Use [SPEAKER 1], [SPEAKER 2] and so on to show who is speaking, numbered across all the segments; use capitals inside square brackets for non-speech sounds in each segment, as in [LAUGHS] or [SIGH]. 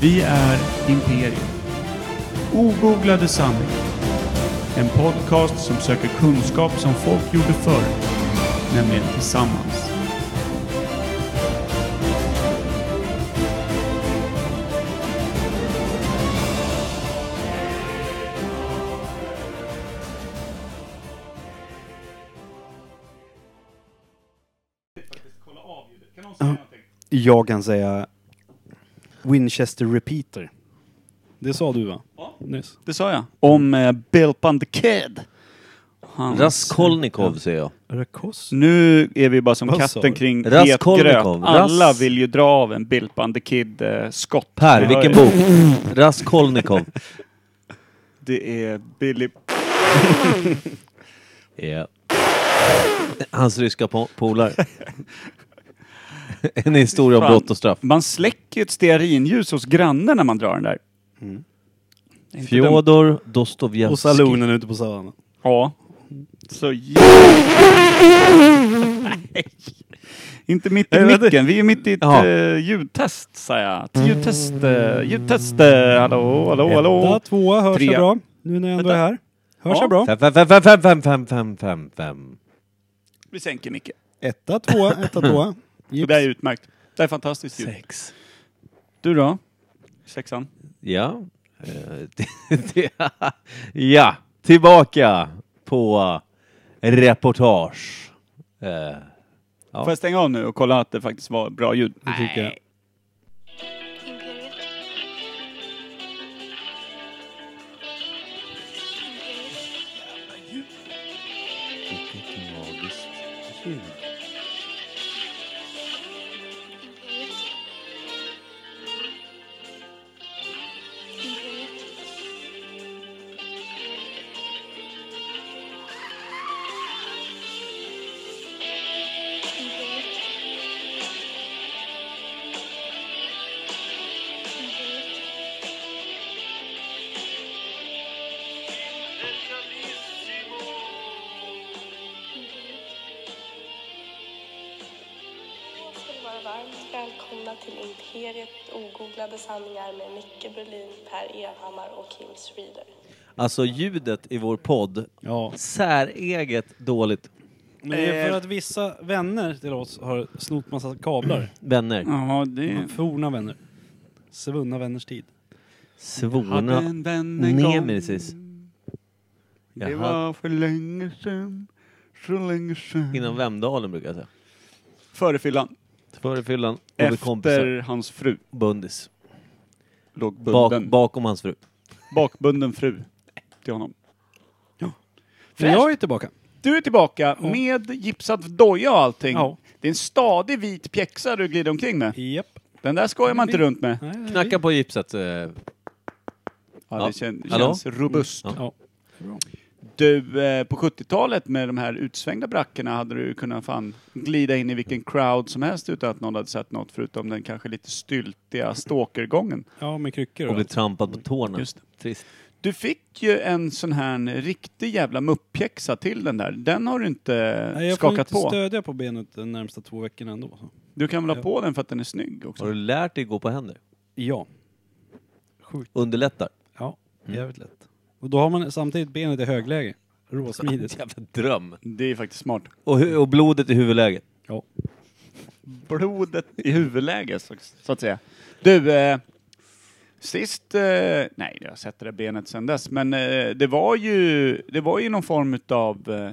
[SPEAKER 1] Vi är Imperium. Ogooglade sanningar. En podcast som söker kunskap som folk gjorde förr, nämligen tillsammans.
[SPEAKER 2] Jag kan säga Winchester Repeater. Det sa du va? Ja. Nyss.
[SPEAKER 1] Det sa jag. Om eh, Belpan the Kid. Hans.
[SPEAKER 3] Raskolnikov ser jag.
[SPEAKER 2] Rakos?
[SPEAKER 1] Nu är vi bara som
[SPEAKER 2] Vad sa
[SPEAKER 1] katten
[SPEAKER 2] du?
[SPEAKER 1] kring het gröt.
[SPEAKER 3] Raskolnikov.
[SPEAKER 1] Alla
[SPEAKER 3] Ras-
[SPEAKER 1] vill ju dra av en Bilpan the eh, Kid-skott.
[SPEAKER 3] Per, vilken bok? [LAUGHS] Raskolnikov.
[SPEAKER 1] Det är Billy...
[SPEAKER 3] Ja. Hans ryska po- polare. [LAUGHS] En historia om
[SPEAKER 1] Fan.
[SPEAKER 3] brott och straff.
[SPEAKER 1] Man släcker ett stearinljus hos grannen när man drar den där.
[SPEAKER 3] Mm.
[SPEAKER 1] Det är inte dumt.
[SPEAKER 3] Fjodor
[SPEAKER 2] Och
[SPEAKER 3] Dostojevskij.
[SPEAKER 2] salonen ute på savannen.
[SPEAKER 1] Ja. Så jävla... [LAUGHS] Nej. Inte mitt i
[SPEAKER 2] Nej, men det-
[SPEAKER 1] micken. Vi är mitt i ett
[SPEAKER 3] Jaha.
[SPEAKER 1] eh, ljudtest, säger jag. Ett Ljudtest, eh, ljudtest. eh, Hallå, hallå,
[SPEAKER 2] Etta,
[SPEAKER 1] hallå.
[SPEAKER 2] tvåa, hörs
[SPEAKER 1] Trea.
[SPEAKER 2] jag bra? Nu när jag ändå är här. Hörs
[SPEAKER 1] Ja.
[SPEAKER 2] jag bra?
[SPEAKER 3] Fem, fem, fem, fem, fem, fem, fem, fem, fem, fem.
[SPEAKER 1] Vi sänker Micke.
[SPEAKER 2] Etta, tvåa, etta, tvåa.
[SPEAKER 1] Det
[SPEAKER 2] Gips.
[SPEAKER 1] där är utmärkt. Det är fantastiskt ljud.
[SPEAKER 3] Sex.
[SPEAKER 1] Du då? Sexan?
[SPEAKER 3] Ja. Eh, [LAUGHS] det- det- ja, tillbaka på reportage. Eh, Ja.
[SPEAKER 1] Får jag stänga av nu och kolla att det faktiskt var bra ljud?
[SPEAKER 2] Det tycker jag.
[SPEAKER 4] Imperiet.
[SPEAKER 5] ska ni vara varmt välkomna till Imperiet ogooglade sanningar med Micke Berlin, Per Evhammar och Kim Schreeder.
[SPEAKER 3] Alltså ljudet i vår podd,
[SPEAKER 2] Ja.
[SPEAKER 3] säreget dåligt.
[SPEAKER 2] Men det
[SPEAKER 1] Eh.
[SPEAKER 2] är för att vissa vänner till oss har snott massa kablar.
[SPEAKER 3] Vänner,
[SPEAKER 1] Ja, det...
[SPEAKER 2] Forna vänner. Svunna vänners tid.
[SPEAKER 1] Hade
[SPEAKER 3] svorna
[SPEAKER 1] en vän en gång.
[SPEAKER 3] nemesis.
[SPEAKER 1] Det
[SPEAKER 3] Jaha.
[SPEAKER 1] var för länge sedan. Så länge sedan.
[SPEAKER 3] Innan Vemdalen brukar jag säga.
[SPEAKER 1] Före fyllan.
[SPEAKER 3] Före fyllan, och vi kompisar.
[SPEAKER 1] Efter hans fru.
[SPEAKER 3] Bundis.
[SPEAKER 1] Låg
[SPEAKER 3] Bak,
[SPEAKER 1] bunden.
[SPEAKER 3] bakom hans fru.
[SPEAKER 1] Bakbunden fru. Till honom.
[SPEAKER 2] Men jag är tillbaka.
[SPEAKER 1] Du är tillbaka med gipsad doja och allting.
[SPEAKER 2] Ja.
[SPEAKER 1] Det är en stadig vit pjäxa du glider omkring med.
[SPEAKER 2] Japp.
[SPEAKER 1] Den där skojar man inte runt med.
[SPEAKER 2] Nej, nej.
[SPEAKER 3] Knacka på gipset. eh,
[SPEAKER 1] Ja,
[SPEAKER 3] Ja.
[SPEAKER 1] det kän
[SPEAKER 3] Hallå?
[SPEAKER 1] känns robust.
[SPEAKER 2] Ja.
[SPEAKER 1] Du, eh, på 70-talet med de här utsvängda brackorna hade du kunnat fan glida in i vilken crowd som helst utan att någon hade sett något förutom den kanske lite styltiga stalkergången.
[SPEAKER 2] ja, med kryckor
[SPEAKER 3] Och
[SPEAKER 2] och
[SPEAKER 3] bli
[SPEAKER 2] allt.
[SPEAKER 3] trampad på tårna.
[SPEAKER 1] Just det.
[SPEAKER 3] Trist.
[SPEAKER 1] Du fick ju en sån här riktig jävla mupppjäxa till den där. Den har du inte
[SPEAKER 2] Nej, jag får
[SPEAKER 1] skakat
[SPEAKER 2] inte
[SPEAKER 1] på.
[SPEAKER 2] stödja på benet de närmsta två veckorna ändå. Så.
[SPEAKER 1] Du kan väl ha på den för att den är snygg också?
[SPEAKER 3] Har du lärt dig gå på händer?
[SPEAKER 2] Ja.
[SPEAKER 3] Underlättar.
[SPEAKER 2] Ja, Mm. jävligt lätt. Och då har man samtidigt benet i högläge. Råsmidigt.
[SPEAKER 3] [LAUGHS] Jävla dröm.
[SPEAKER 1] Det är faktiskt smart.
[SPEAKER 3] Och, hu- och blodet i huvudläget.
[SPEAKER 2] Ja.
[SPEAKER 1] Blodet i huvudläge, så, så att säga. Du, eh, sist... Eh, nej, jag har sett det där benet sedan dess, men eh, det, var ju, det var ju någon form av eh,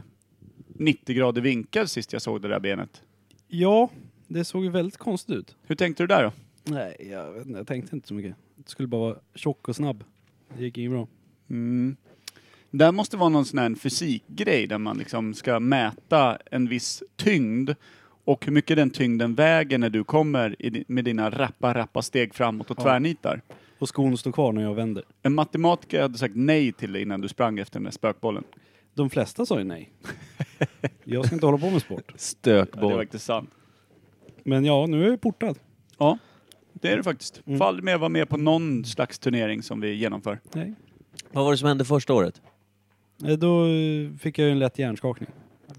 [SPEAKER 1] 90 grader vinkel sist jag såg det där benet.
[SPEAKER 2] ja, det såg ju väldigt konstigt ut.
[SPEAKER 1] Hur tänkte du där då?
[SPEAKER 2] Nej, jag, vet inte, jag tänkte inte så mycket. Det skulle bara vara tjock och snabb. Det gick inget bra.
[SPEAKER 1] Mm. Där måste vara någon sån här fysikgrej där man liksom ska mäta en viss tyngd och hur mycket den tyngden väger när du kommer i, di- med dina rappa, rappa steg framåt och tvärnitar.
[SPEAKER 2] Och skon står kvar när jag vänder.
[SPEAKER 1] En matematiker hade sagt nej till dig innan du sprang efter den där spökbollen.
[SPEAKER 2] De flesta sa ju [LAUGHS] nej. jag ska inte hålla på med sport.
[SPEAKER 1] Ja, det var
[SPEAKER 3] Stökboll.
[SPEAKER 1] faktiskt sant.
[SPEAKER 2] Men ja, nu är jag ju portad.
[SPEAKER 1] Ja, det är det faktiskt. Får aldrig mer vara med på någon slags turnering som vi genomför.
[SPEAKER 2] Nej.
[SPEAKER 3] Vad var det som hände första året?
[SPEAKER 2] Eh, Då eh, fick jag ju en lätt hjärnskakning.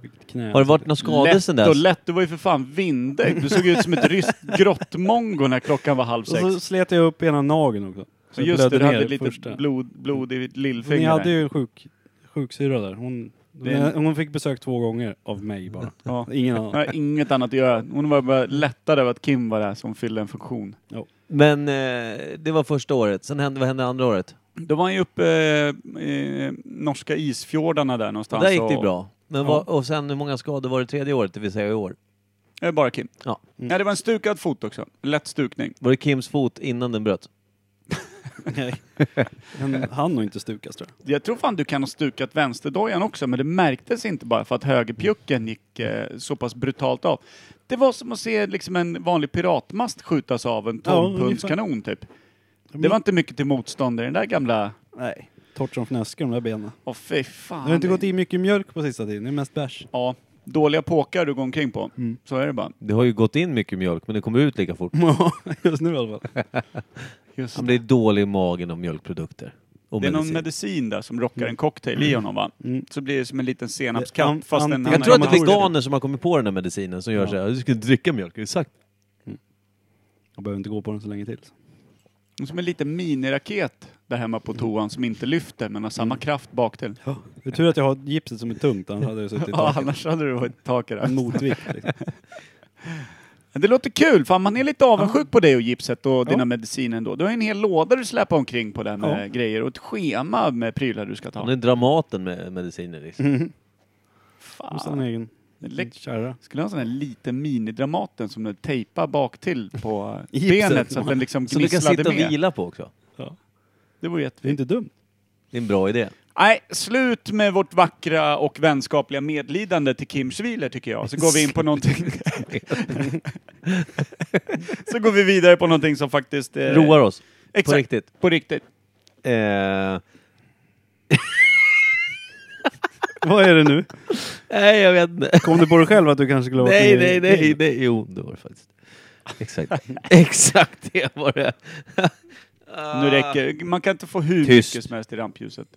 [SPEAKER 2] Vilket knä.
[SPEAKER 3] Har det varit någon skada
[SPEAKER 1] Lätt
[SPEAKER 3] sedan
[SPEAKER 1] och
[SPEAKER 3] dess?
[SPEAKER 1] lätt, du var ju för fan vindäck. Du såg ut som ett ryskt grottmongo när klockan var halv
[SPEAKER 2] Och
[SPEAKER 1] sex.
[SPEAKER 2] så slet jag upp ena nageln också. Så
[SPEAKER 1] Så just det,
[SPEAKER 2] blödde
[SPEAKER 1] du
[SPEAKER 2] ner
[SPEAKER 1] hade
[SPEAKER 2] det
[SPEAKER 1] lite
[SPEAKER 2] första.
[SPEAKER 1] blod, blod i ditt lillfinger.
[SPEAKER 2] Ni hade
[SPEAKER 1] där.
[SPEAKER 2] ju en sjuk, sjuksyra där. Hon,
[SPEAKER 1] Det är-
[SPEAKER 2] hon fick besök två gånger av mig bara.
[SPEAKER 1] Ja.
[SPEAKER 2] Ingen
[SPEAKER 1] Jag
[SPEAKER 2] annan.
[SPEAKER 1] har inget annat att göra. Hon var bara lättad över att Kim var där som fyllde en funktion.
[SPEAKER 3] Men eh, det var första året. Sen hände, vad hände andra året?
[SPEAKER 1] Då var han ju uppe eh, i norska isfjordarna där någonstans.
[SPEAKER 3] Där gick det ju
[SPEAKER 1] och-
[SPEAKER 3] bra. Men
[SPEAKER 1] Ja.
[SPEAKER 3] vad, och sen hur många skador var det tredje året, det vill säga i år?
[SPEAKER 1] Eh, Bara Kim.
[SPEAKER 3] Ja.
[SPEAKER 1] Ja, det var en stukad fot också. Lätt stukning.
[SPEAKER 3] Var det Kims fot innan den bröt?
[SPEAKER 2] Han hann nog inte stukas tror jag.
[SPEAKER 1] Jag tror fan du kan ha stukat vänsterdojan också, men det märktes inte bara för att
[SPEAKER 2] Mm.
[SPEAKER 1] högerpjucken gick eh, så pass brutalt av. Det var som att se liksom en vanlig piratmast skjutas av en
[SPEAKER 2] Ja,
[SPEAKER 1] 12-pundskanon typ. Det var inte mycket till motstånd i den där gamla...
[SPEAKER 2] Nej. Torrt som fnöske de där benen.
[SPEAKER 1] Åh fy
[SPEAKER 2] Du
[SPEAKER 1] fan.
[SPEAKER 2] har inte gått i mycket mjölk på sista tiden, det är mest bärs. [LAUGHS]
[SPEAKER 1] Ja, dåliga påkar du går omkring på.
[SPEAKER 2] Mm.
[SPEAKER 1] Så är det bara.
[SPEAKER 3] Det har ju gått in mycket mjölk, men det kommer ut lika fort.
[SPEAKER 2] Ja, just nu i alla fall.
[SPEAKER 1] Just.
[SPEAKER 3] Han blir dålig i magen av mjölkprodukter. Och
[SPEAKER 1] Det är någon
[SPEAKER 3] medicin.
[SPEAKER 1] medicin där som rockar en cocktail i honom va?
[SPEAKER 2] Mm.
[SPEAKER 1] Så blir det som en liten
[SPEAKER 2] Det- an-
[SPEAKER 1] senapskatt fast en
[SPEAKER 2] antingen-
[SPEAKER 3] jag tror att det är
[SPEAKER 1] annan-
[SPEAKER 3] veganer som har kommit på den här medicinen som gör
[SPEAKER 2] Ja.
[SPEAKER 3] så här, du ska dricka mjölk, exakt.
[SPEAKER 2] Jag behöver inte gå på den så länge till.
[SPEAKER 1] Som en liten miniraket där hemma
[SPEAKER 3] Mm.
[SPEAKER 1] på toan som inte lyfter men har samma kraft bak till.
[SPEAKER 2] Det är tur att jag har gipset som är tungt, annars hade jag suttit i
[SPEAKER 1] Ja,
[SPEAKER 2] taket.
[SPEAKER 1] annars hade du varit tak i det.
[SPEAKER 2] En motvikt. Liksom.
[SPEAKER 1] Men Det låter kul, fan man är lite avundsjuk på dig och gipset och dina
[SPEAKER 2] Ja.
[SPEAKER 1] mediciner ändå. Du har ju en hel låda du släpar omkring på där med grejer och ett schema med prylar du ska
[SPEAKER 3] Han
[SPEAKER 1] ta.
[SPEAKER 3] är Dramaten med mediciner liksom.
[SPEAKER 1] Mm.
[SPEAKER 2] Måste ha en
[SPEAKER 1] Fan.
[SPEAKER 2] egen
[SPEAKER 1] Ah. Läck-
[SPEAKER 2] kärra.
[SPEAKER 1] Skulle ha en sån här liten minidramaten som du tejpar bak till på eh,
[SPEAKER 2] Gipset.
[SPEAKER 1] benet så att den liksom
[SPEAKER 3] Som du kan sitta
[SPEAKER 1] gnisslade
[SPEAKER 3] och
[SPEAKER 1] med.
[SPEAKER 3] vila på också.
[SPEAKER 1] Det vore jättefint.
[SPEAKER 2] Det är inte dumt.
[SPEAKER 3] Det är en bra idé.
[SPEAKER 1] Nej, slut med vårt vackra och vänskapliga medlidande till Kim Schwiler tycker jag. Så går vi in på
[SPEAKER 3] [LAUGHS]
[SPEAKER 1] någonting... så går vi vidare på någonting som faktiskt... Eh,
[SPEAKER 3] Roar oss.
[SPEAKER 1] Exakt,
[SPEAKER 3] På riktigt.
[SPEAKER 1] På riktigt.
[SPEAKER 3] Eh,
[SPEAKER 2] Vad är det nu?
[SPEAKER 3] nej, jag vet inte.
[SPEAKER 2] Kom du på dig själv att du kanske skulle ha varit
[SPEAKER 3] Nej,
[SPEAKER 2] med i-
[SPEAKER 3] nej, nej, nej. Jo, det var det faktiskt. Exakt. [LAUGHS] Exakt det var det.
[SPEAKER 1] Nu räcker Man kan inte få hur
[SPEAKER 3] Tyst.
[SPEAKER 1] mycket som helst i rampljuset.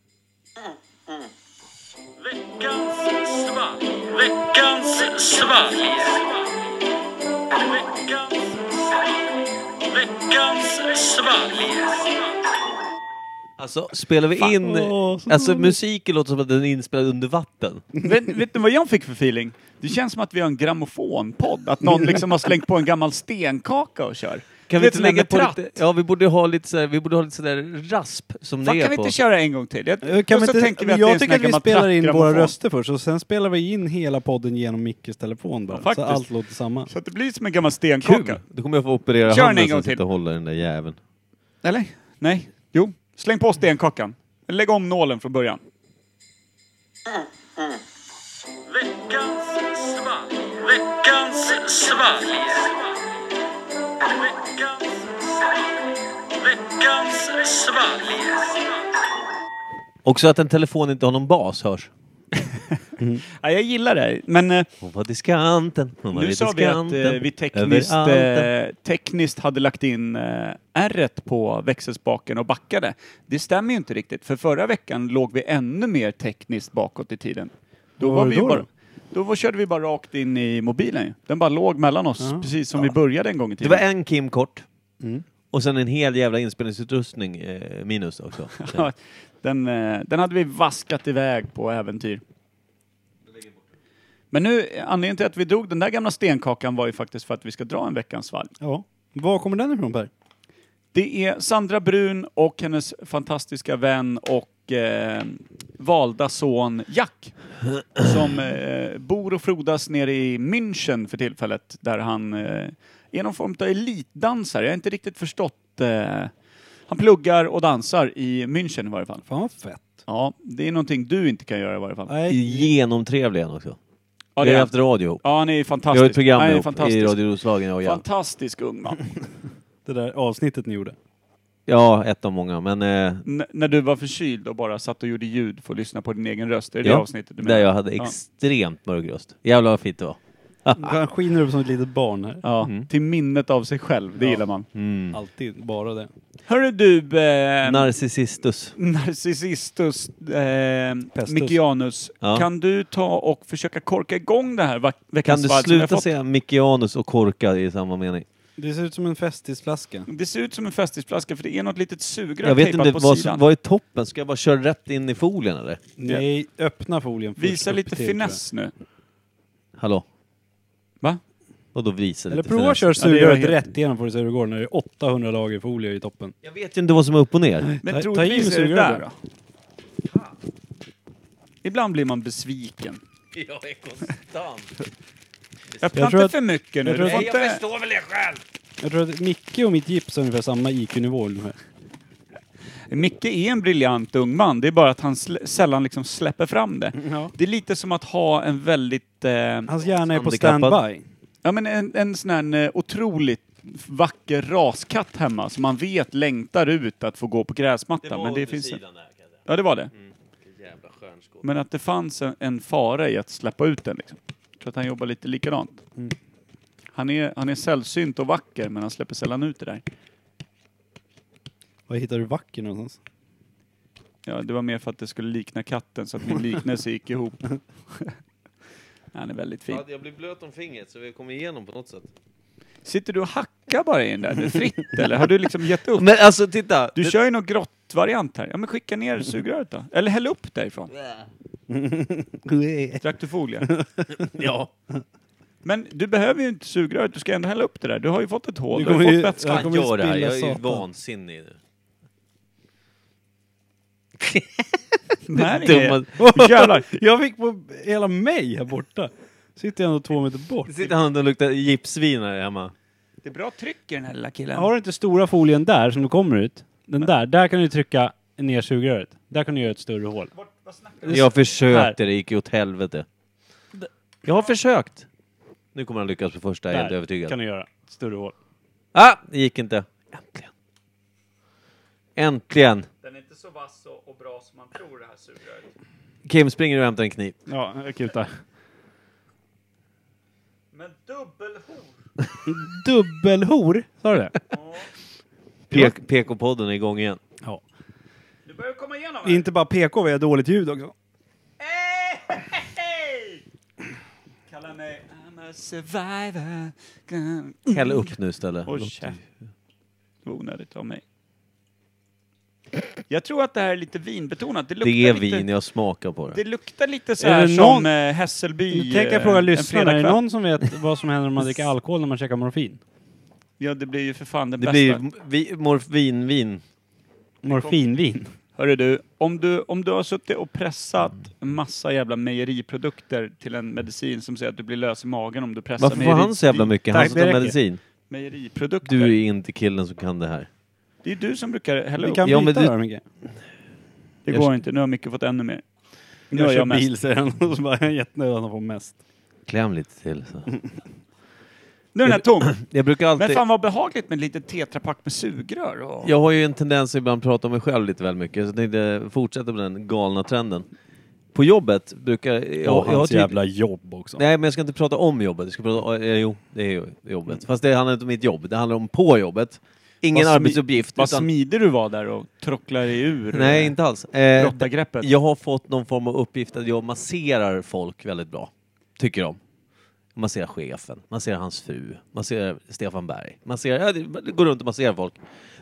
[SPEAKER 3] Alltså, spelar vi in...
[SPEAKER 2] Åh, så
[SPEAKER 3] Alltså
[SPEAKER 2] dåligt.
[SPEAKER 3] musiken låter som att den är inspelad under vatten.
[SPEAKER 1] vet, vet du vad jag fick för feeling? Det känns som att vi har en grammofonpodd. Att någon liksom har slängt på en gammal stenkaka och kör.
[SPEAKER 3] Kan
[SPEAKER 1] Du
[SPEAKER 3] vi
[SPEAKER 1] vet,
[SPEAKER 3] inte
[SPEAKER 1] sån där
[SPEAKER 3] lägga
[SPEAKER 1] med
[SPEAKER 3] på
[SPEAKER 1] tratt.
[SPEAKER 3] lite... Ja, vi borde ha lite sådär, vi borde ha lite sådär rasp som
[SPEAKER 1] Fan,
[SPEAKER 3] det är
[SPEAKER 1] kan
[SPEAKER 3] på.
[SPEAKER 1] vi inte köra en gång till? Jag,
[SPEAKER 2] Eh,
[SPEAKER 1] och
[SPEAKER 2] Kan vi
[SPEAKER 1] så
[SPEAKER 2] inte,
[SPEAKER 1] tänker vi att det är
[SPEAKER 2] jag
[SPEAKER 1] en sån
[SPEAKER 2] tycker
[SPEAKER 1] här
[SPEAKER 2] att vi
[SPEAKER 1] gammal
[SPEAKER 2] spelar in våra
[SPEAKER 1] trattgrammofon.
[SPEAKER 2] röster först och sen spelar vi in hela podden genom Mickes telefon bara.
[SPEAKER 1] Ja,
[SPEAKER 2] så
[SPEAKER 1] faktiskt.
[SPEAKER 2] allt låter samma.
[SPEAKER 1] Så att det blir som en gammal stenkaka.
[SPEAKER 3] Kul! Då kommer jag få operera
[SPEAKER 1] Kör den
[SPEAKER 3] handen
[SPEAKER 1] en gång
[SPEAKER 3] som sitter
[SPEAKER 1] till.
[SPEAKER 3] och håller den där jäveln.
[SPEAKER 1] Eller? Nej. Jo. Släng på stenkakan. Lägg om nålen från början.
[SPEAKER 3] Också att en telefon inte har någon bas hörs.
[SPEAKER 1] Ja, jag gillar det. Men eh,
[SPEAKER 3] Hon var diskanten, hon var
[SPEAKER 1] nu
[SPEAKER 3] vid
[SPEAKER 1] sa vi att eh,
[SPEAKER 3] diskanten,
[SPEAKER 1] vi tekniskt,
[SPEAKER 3] överallt.
[SPEAKER 1] eh, tekniskt hade lagt in eh, r på växelspaken och backade. Det stämmer ju inte riktigt, för förra veckan låg vi ännu mer tekniskt bakåt i tiden. Då,
[SPEAKER 2] Vad
[SPEAKER 1] var
[SPEAKER 2] var
[SPEAKER 1] vi
[SPEAKER 2] det
[SPEAKER 1] ju
[SPEAKER 2] då
[SPEAKER 1] bara, då? var- körde vi bara rakt in i mobilen. ju. Den bara låg mellan oss, precis som vi började en gång i
[SPEAKER 3] Det
[SPEAKER 1] tiden.
[SPEAKER 3] var en Kim kort.
[SPEAKER 1] Mm.
[SPEAKER 3] Och sen en hel jävla inspelningsutrustning eh, minus också.
[SPEAKER 1] [LAUGHS] Ja, den, eh, den hade vi vaskat iväg på äventyr. Men nu, anledningen till att vi drog den där gamla stenkakan var ju faktiskt för att vi ska dra en veckans valg.
[SPEAKER 2] Ja. Var kommer den ifrån Per?
[SPEAKER 1] Det är Sandra Brun och hennes fantastiska vän och eh, valda son Jack som eh, bor och frodas nere i München för tillfället där han eh, är någon form av elitdansare. Jag har inte riktigt förstått. Eh, han pluggar och dansar i München i varje fall.
[SPEAKER 2] Fan vad fett.
[SPEAKER 1] Ja, det är någonting du inte kan göra i varje fall.
[SPEAKER 2] Nej.
[SPEAKER 3] Genomtrevlig han också.
[SPEAKER 1] ja,
[SPEAKER 3] Vi
[SPEAKER 1] det
[SPEAKER 3] har
[SPEAKER 1] är,
[SPEAKER 3] haft radio ihop.
[SPEAKER 1] ja, han är ju
[SPEAKER 3] Vi har ett
[SPEAKER 1] fantastisk.
[SPEAKER 3] program
[SPEAKER 1] han är
[SPEAKER 3] ihop i
[SPEAKER 1] fantastisk.
[SPEAKER 3] Radio Roslagen, jag och Jan.
[SPEAKER 1] Fantastisk ung man.
[SPEAKER 2] Det där avsnittet ni gjorde.
[SPEAKER 3] Ja, ett av många, men... Eh,
[SPEAKER 1] N- när du var förkyld och bara satt och gjorde ljud för att lyssna på din egen röst. Är det det
[SPEAKER 3] ja,
[SPEAKER 1] avsnittet du menar?
[SPEAKER 3] där jag hade
[SPEAKER 1] Ja.
[SPEAKER 3] extremt mörk röst. Jävlar vad fint det var.
[SPEAKER 2] Han
[SPEAKER 1] Mm.
[SPEAKER 3] Mm.
[SPEAKER 2] skiner upp som ett litet barn här.
[SPEAKER 1] Ja, till minnet av sig själv. Det gillar man.
[SPEAKER 2] Alltid bara det.
[SPEAKER 1] Hörru du, eh,
[SPEAKER 3] Narcissistus.
[SPEAKER 1] Narcissistus eh,
[SPEAKER 2] Pestus.
[SPEAKER 1] Mikianus,
[SPEAKER 3] Ja.
[SPEAKER 1] kan du ta och försöka korka igång det här va-
[SPEAKER 3] Kan
[SPEAKER 1] veckans
[SPEAKER 3] du
[SPEAKER 1] valp som jag
[SPEAKER 3] sluta
[SPEAKER 1] fått?
[SPEAKER 3] säga Mickianus och korka i samma mening?
[SPEAKER 2] Det ser ut som en festisflaska.
[SPEAKER 1] Det ser ut som en festisflaska för det är något litet sugrör
[SPEAKER 3] Jag vet
[SPEAKER 1] tejpat
[SPEAKER 3] inte,
[SPEAKER 1] på
[SPEAKER 3] vad,
[SPEAKER 1] sidan.
[SPEAKER 3] som- vad är toppen? Ska jag bara köra rätt in i folien eller?
[SPEAKER 2] Nej, öppna folien först.
[SPEAKER 1] Visa
[SPEAKER 2] upp
[SPEAKER 1] lite
[SPEAKER 2] till,
[SPEAKER 1] finess nu.
[SPEAKER 3] Hallå?
[SPEAKER 1] Va?
[SPEAKER 3] Och då visar
[SPEAKER 2] tror jag. Eller
[SPEAKER 3] lite
[SPEAKER 2] prova
[SPEAKER 3] finess.
[SPEAKER 2] att köra
[SPEAKER 1] Ja, det gör jag
[SPEAKER 2] sugröret
[SPEAKER 1] helt-
[SPEAKER 2] rätt igenom får du se hur det går när det är 800 lager folie i toppen.
[SPEAKER 3] Jag vet ju inte vad som är upp och ner.
[SPEAKER 1] Men
[SPEAKER 2] Ta- ta i
[SPEAKER 1] troligtvis
[SPEAKER 2] med
[SPEAKER 1] är det där
[SPEAKER 2] sugröret.
[SPEAKER 1] då. Ibland blir man besviken.
[SPEAKER 3] Jag är konstant.
[SPEAKER 1] Öppna
[SPEAKER 2] Jag tror
[SPEAKER 1] inte
[SPEAKER 2] att-
[SPEAKER 1] för mycket nu.
[SPEAKER 2] jag tror
[SPEAKER 1] Du
[SPEAKER 2] att-
[SPEAKER 1] får inte...
[SPEAKER 3] väl det själv!
[SPEAKER 2] Jag tror att Micke och mitt gips har ungefär samma IQ-nivå. ungefär.
[SPEAKER 1] Micke är en briljant ung man, det är bara att han slä- sällan liksom släpper fram det.
[SPEAKER 2] Mm, Ja.
[SPEAKER 1] Det är lite som att ha en väldigt... Eh,
[SPEAKER 2] Hans hjärna är på
[SPEAKER 3] Handikappad.
[SPEAKER 2] standby.
[SPEAKER 1] Ja men en, en sån här eh, otroligt vacker raskatt hemma som man vet längtar ut att få gå på gräsmattan. men det finns Ja det var det.
[SPEAKER 3] Jävla stjärnskål.
[SPEAKER 1] Men att det fanns en, en fara i att släppa ut den liksom. Jag tror att han jobbar lite likadant. Han, är, han är sällsynt och vacker men han släpper sällan ut det där.
[SPEAKER 2] Var hittar du vacker någonstans?
[SPEAKER 1] Ja, det var mer för att det skulle likna katten så att min liknelse gick ihop. han är väldigt fin.
[SPEAKER 3] Jag blir blöt om fingret så vi kommer igenom på något sätt.
[SPEAKER 1] Sitter du och hackar bara i den där? Det är fritt eller? Har du liksom gett upp?
[SPEAKER 3] Men alltså titta!
[SPEAKER 1] Du
[SPEAKER 3] det-
[SPEAKER 1] kör ju någon grottvariant här. Ja men skicka ner sugröret då. Eller häll upp därifrån. Drack du folie?
[SPEAKER 2] [LAUGHS] Ja.
[SPEAKER 1] Men du behöver ju inte sugröret, du ska ändå hälla upp det där. Du har ju fått ett hål,
[SPEAKER 2] Du
[SPEAKER 1] du har
[SPEAKER 2] kommer
[SPEAKER 1] ju
[SPEAKER 2] ju-
[SPEAKER 1] fått vätska.
[SPEAKER 2] Jag
[SPEAKER 3] Fan
[SPEAKER 2] kommer ju
[SPEAKER 3] gör det här,
[SPEAKER 2] spilla
[SPEAKER 3] jag är ju
[SPEAKER 2] satan.
[SPEAKER 3] vansinnig nu.
[SPEAKER 1] Nej,
[SPEAKER 2] [LAUGHS]
[SPEAKER 3] Dumma-
[SPEAKER 1] Jävlar.
[SPEAKER 2] Jag fick på hela mig här borta. Sitter jag ändå två meter bort.
[SPEAKER 3] Nu sitter han och luktar gipsvin här hemma.
[SPEAKER 1] Det är bra tryck i den här lilla killen.
[SPEAKER 2] Har du inte stora folien där som du kommer ut? Den där, där kan du trycka ner sugröret. Där kan du göra ett större hål.
[SPEAKER 3] Jag försökte,
[SPEAKER 2] Här.
[SPEAKER 3] det gick ju åt helvete. Jag har försökt! Nu kommer han lyckas på första, jag är helt
[SPEAKER 2] Där kan
[SPEAKER 3] övertygad.
[SPEAKER 2] du göra ett större hål.
[SPEAKER 3] Ah! Det gick inte. Äntligen. Äntligen!
[SPEAKER 1] Den är inte så vass och, bra som man tror det här sugröret.
[SPEAKER 3] Kim springer och hämtar en kniv.
[SPEAKER 2] Ja, jag kutar.
[SPEAKER 1] Men dubbelhor!
[SPEAKER 2] Dubbelhor, sa du det?
[SPEAKER 3] Pek- PK-podden är igång igen.
[SPEAKER 2] Ja.
[SPEAKER 1] Du börjar komma igenom
[SPEAKER 2] Inte bara PK, vi har dåligt ljud också.
[SPEAKER 1] Kalla mig I'm a survivor.
[SPEAKER 3] Häll upp nu istället.
[SPEAKER 1] Mm. Oj, käft. Det var onödigt av mig. Jag tror att det här är lite vinbetonat. Det luktar
[SPEAKER 3] Det är
[SPEAKER 1] lite,
[SPEAKER 3] vin, jag smakar på
[SPEAKER 1] Det
[SPEAKER 3] det.
[SPEAKER 1] luktar lite så
[SPEAKER 2] Är
[SPEAKER 1] här
[SPEAKER 2] det
[SPEAKER 1] som
[SPEAKER 2] någon-
[SPEAKER 1] eh, Hässelby
[SPEAKER 2] Nu tänker jag
[SPEAKER 1] eh,
[SPEAKER 2] fråga
[SPEAKER 1] en
[SPEAKER 2] lyssnarna, är det
[SPEAKER 1] fredagkväll.
[SPEAKER 2] någon som vet vad som händer om man [LAUGHS] dricker alkohol när man käkar morfin?
[SPEAKER 1] Ja, det blir ju för fan den
[SPEAKER 3] Det
[SPEAKER 1] bästa. Alltså,
[SPEAKER 3] blir vi- morfinvin.
[SPEAKER 2] Morfinvin.
[SPEAKER 1] Hörru du, om du, om du har suttit och pressat en massa jävla mejeriprodukter till en medicin som säger att du blir lös i magen om du pressar
[SPEAKER 3] Varför får
[SPEAKER 1] mejeri-
[SPEAKER 3] han så jävla mycket? Han
[SPEAKER 1] Tack,
[SPEAKER 3] som
[SPEAKER 1] det
[SPEAKER 3] tar
[SPEAKER 1] räcker.
[SPEAKER 3] medicin.
[SPEAKER 1] Mejeriprodukter.
[SPEAKER 3] Du är inte killen som kan det här.
[SPEAKER 1] Det är du som brukar hälla
[SPEAKER 2] Du
[SPEAKER 1] upp.
[SPEAKER 2] kan
[SPEAKER 3] Ja,
[SPEAKER 2] byta
[SPEAKER 3] men
[SPEAKER 2] det
[SPEAKER 3] du-
[SPEAKER 2] här Micke.
[SPEAKER 1] Det går inte, nu har Micke fått ännu mer. Nu har
[SPEAKER 2] Jag kör
[SPEAKER 1] jag mest.
[SPEAKER 2] bil, säger han. Och så bara, jag är jättenöjd att han får mest.
[SPEAKER 3] Kläm lite till. Så.
[SPEAKER 1] Nu är den här tom!
[SPEAKER 3] Jag brukar
[SPEAKER 1] Mm. Men
[SPEAKER 3] alltid...
[SPEAKER 1] fan vad behagligt med lite tetrapack med sugrör och...
[SPEAKER 3] Jag har ju en tendens att ibland prata om mig själv lite väl mycket, så jag tänkte fortsätta med den galna trenden. På jobbet brukar... Jag,
[SPEAKER 2] Och
[SPEAKER 3] jag har
[SPEAKER 2] hans
[SPEAKER 3] typ-
[SPEAKER 2] jävla jobb också.
[SPEAKER 3] Nej, men jag ska inte prata om jobbet. Jag ska prata, eh, jo, det är ju jobbet. Fast det handlar inte om mitt jobb, det handlar om på jobbet. Ingen
[SPEAKER 1] Mm. Vad smi-
[SPEAKER 3] arbetsuppgift.
[SPEAKER 1] Vad
[SPEAKER 3] utan-
[SPEAKER 1] smidig du var där och tråcklar dig ur
[SPEAKER 3] Nej,
[SPEAKER 1] eh,
[SPEAKER 3] inte alls. Eh,
[SPEAKER 1] råttagreppet.
[SPEAKER 3] jag har fått någon form av uppgift att jag masserar folk väldigt bra, tycker de. Man ser chefen, man ser hans fru, man ser Stefan Berg. Man ser, ja, det går runt och masserar folk.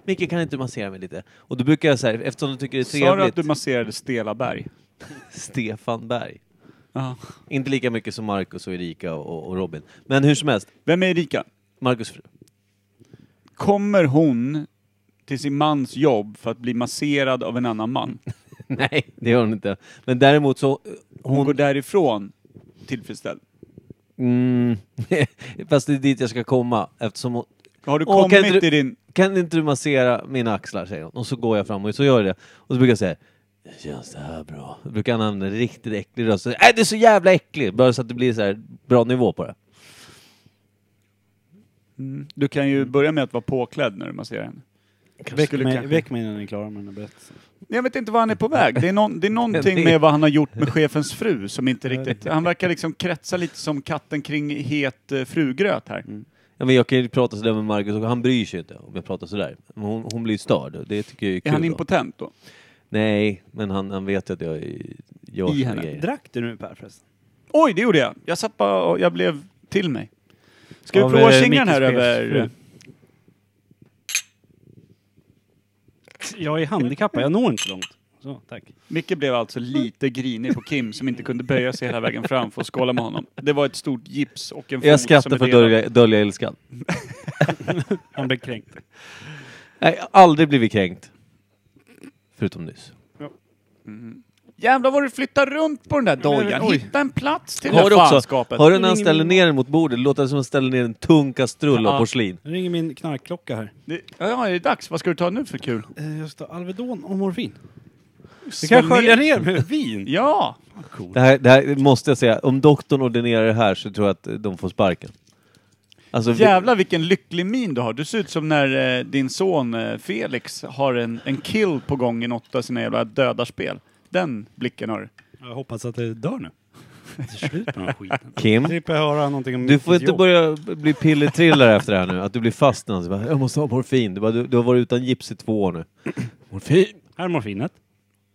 [SPEAKER 3] Micke, kan inte du massera mig lite? Och då brukar jag säga, eftersom de tycker det är
[SPEAKER 1] Sa du
[SPEAKER 3] trevligt,
[SPEAKER 1] att du masserade Stela Berg?
[SPEAKER 3] Stefan Berg.
[SPEAKER 1] Ja.
[SPEAKER 3] Inte lika mycket som Marcus och Erika och, och Robin. Men hur som helst,
[SPEAKER 1] Vem är Erika?
[SPEAKER 3] Marcus fru.
[SPEAKER 1] Kommer hon till sin mans jobb för att bli masserad av en annan man?
[SPEAKER 3] [LAUGHS] Nej, det gör hon inte. Men däremot så... eh,
[SPEAKER 1] Hon,
[SPEAKER 3] Hon...
[SPEAKER 1] går därifrån tillfredsställd.
[SPEAKER 3] Mm, [LAUGHS] fast det är dit jag ska komma eftersom hon...
[SPEAKER 1] Har du
[SPEAKER 3] Åh, kan
[SPEAKER 1] kommit
[SPEAKER 3] inte du-
[SPEAKER 1] till din...
[SPEAKER 3] Kan inte du massera mina axlar, säger hon. Och så går jag fram och så gör jag det. Och så brukar jag säga, känns det här bra? Då brukar han använda en riktigt äcklig röst. Nej, äh, det är så jävla äckligt! Bara så att det blir så här bra nivå på det.
[SPEAKER 1] Mm. Du kan ju börja med att vara påklädd när du masserar henne.
[SPEAKER 2] Väck
[SPEAKER 1] skulle
[SPEAKER 2] mig,
[SPEAKER 1] kanske-
[SPEAKER 2] väck mig när ni är klara med den här berättelsen.
[SPEAKER 1] Jag vet inte var han är på väg. Det är, någon, det är någonting med vad han har gjort med chefens fru som inte riktigt... Han verkar liksom kretsa lite som katten kring het eh, frugröt här.
[SPEAKER 3] Ja, men jag kan ju prata sådär med Marcus och han bryr sig inte om jag pratar sådär. Men hon, hon blir ju störd. Det tycker jag är kul.
[SPEAKER 1] Är han
[SPEAKER 3] då.
[SPEAKER 1] impotent då?
[SPEAKER 3] Nej, men han, han vet ju att jag är- gör
[SPEAKER 1] I
[SPEAKER 3] såna
[SPEAKER 1] henne.
[SPEAKER 3] grejer.
[SPEAKER 2] Drack du nu Per förresten?
[SPEAKER 1] Oj, det gjorde jag! Jag sappade och jag blev till mig. Ska
[SPEAKER 2] Av,
[SPEAKER 1] vi prova
[SPEAKER 2] eh,
[SPEAKER 1] kingan här
[SPEAKER 2] Mickes
[SPEAKER 1] över...
[SPEAKER 2] chef. Jag är handikappad, jag når inte långt. Så, tack.
[SPEAKER 1] Micke blev alltså lite grinig på Kim som inte kunde böja sig hela vägen fram för att skåla med honom. Det var ett stort gips och en fot
[SPEAKER 3] Jag
[SPEAKER 1] som
[SPEAKER 3] skrattar
[SPEAKER 1] är
[SPEAKER 3] för att
[SPEAKER 1] delad.
[SPEAKER 3] dölja, dölja ilskan.
[SPEAKER 2] Han blev kränkt.
[SPEAKER 3] Nej, jag har aldrig blivit kränkt. Förutom nyss.
[SPEAKER 1] Jävlar vad du flyttar runt på den där dojan.
[SPEAKER 2] oj.
[SPEAKER 1] Hitta en plats till det
[SPEAKER 3] Hör
[SPEAKER 1] här
[SPEAKER 3] du också?
[SPEAKER 1] fanskapet.
[SPEAKER 3] Hör du när han ställer ner den mot bordet? Det låter som att han ställer ner en tung kastrull av
[SPEAKER 1] Ja.
[SPEAKER 3] porslin.
[SPEAKER 2] Nu ringer min knarkklocka här.
[SPEAKER 1] Det- Ja, är det dags? Vad ska du ta nu för kul?
[SPEAKER 2] Eh, Just det, Alvedon och morfin. Du
[SPEAKER 1] Svälj
[SPEAKER 2] kan skölja ner med vin.
[SPEAKER 1] Ja!
[SPEAKER 3] Det här, det här måste jag säga, om doktorn ordinerar det här så tror jag att de får sparken. Alltså, vi-
[SPEAKER 1] Jävlar vilken lycklig min du har. Du ser ut som när eh, din son eh, Felix har en, en kill på gång i något av sina jävla dödarspel. Den blicken har du.
[SPEAKER 2] [LAUGHS] Jag hoppas att det dör nu. Det är slut på den här skiten. [LAUGHS]
[SPEAKER 3] Kim,
[SPEAKER 2] Slipper jag höra någonting om
[SPEAKER 3] du får
[SPEAKER 2] mitt
[SPEAKER 3] inte
[SPEAKER 2] jobb.
[SPEAKER 3] börja bli pillertrillare efter det här nu. Att du blir fast någonstans. Bara, Jag måste ha morfin. Du, bara, du, du har varit utan gips i två år nu. Morfin!
[SPEAKER 2] Här är morfinet.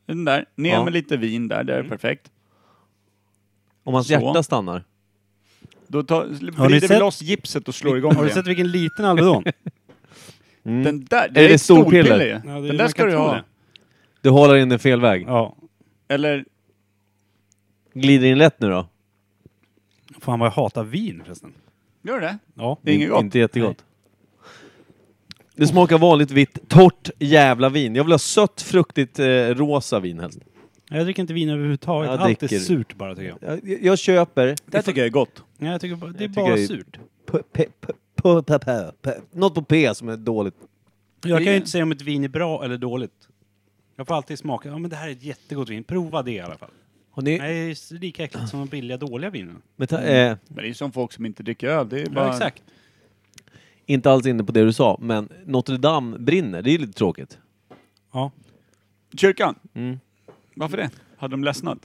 [SPEAKER 1] Den där. Ner
[SPEAKER 3] Ja.
[SPEAKER 1] med lite vin där, det är perfekt.
[SPEAKER 3] Om hans
[SPEAKER 1] Så.
[SPEAKER 3] hjärta stannar.
[SPEAKER 1] Då tar, vrider vi
[SPEAKER 2] sett-
[SPEAKER 1] loss gipset och slår igång
[SPEAKER 2] Har du
[SPEAKER 1] igen.
[SPEAKER 2] sett vilken liten Alvedon?
[SPEAKER 1] Den där, det
[SPEAKER 3] Är
[SPEAKER 1] är,
[SPEAKER 3] det
[SPEAKER 1] ett storpiller.
[SPEAKER 3] storpiller?
[SPEAKER 1] ju.
[SPEAKER 2] Ja, det är-
[SPEAKER 1] den där
[SPEAKER 2] man
[SPEAKER 1] ska
[SPEAKER 2] kan
[SPEAKER 1] du
[SPEAKER 2] tro
[SPEAKER 1] ha.
[SPEAKER 2] det.
[SPEAKER 3] Du håller in den fel väg.
[SPEAKER 2] [LAUGHS] Ja.
[SPEAKER 1] Eller,
[SPEAKER 3] Glider in lätt nu då?
[SPEAKER 2] Fan vad jag hatar vin förresten.
[SPEAKER 1] gör det?
[SPEAKER 2] Ja.
[SPEAKER 1] Det är inget gott.
[SPEAKER 3] Inte jättegott. Det smakar vanligt vitt, torrt jävla vin. Jag vill ha sött, fruktigt, eh, rosa vin helst.
[SPEAKER 2] Jag dricker inte vin överhuvudtaget.
[SPEAKER 3] Jag
[SPEAKER 2] Allt
[SPEAKER 3] dricker-
[SPEAKER 2] är surt bara tycker jag.
[SPEAKER 3] Jag, jag köper...
[SPEAKER 1] Det här tycker jag är gott.
[SPEAKER 2] Nej, jag tycker bara, det är
[SPEAKER 3] tycker
[SPEAKER 2] bara
[SPEAKER 3] jag är-
[SPEAKER 2] surt.
[SPEAKER 3] P- p- p- p- p- p- p- Något på P som är dåligt.
[SPEAKER 2] Jag
[SPEAKER 1] Det-
[SPEAKER 2] kan ju inte säga om ett vin är bra eller dåligt. Jag får alltid smaka. Ja men det här är ett jättegott vin. Prova det i alla fall.
[SPEAKER 3] Har ni,
[SPEAKER 2] Nej, det är lika äckligt som de billiga dåliga vinen.
[SPEAKER 3] men ta, eh,
[SPEAKER 1] Men det är ju som folk som inte dricker öl. Det är bara...
[SPEAKER 2] Ja, exakt.
[SPEAKER 3] inte alls inne på det du sa, men Notre Dame brinner. Det är ju lite tråkigt.
[SPEAKER 2] Ja.
[SPEAKER 1] Kyrkan?
[SPEAKER 3] Mm.
[SPEAKER 1] Varför det? Hade de ledsnat?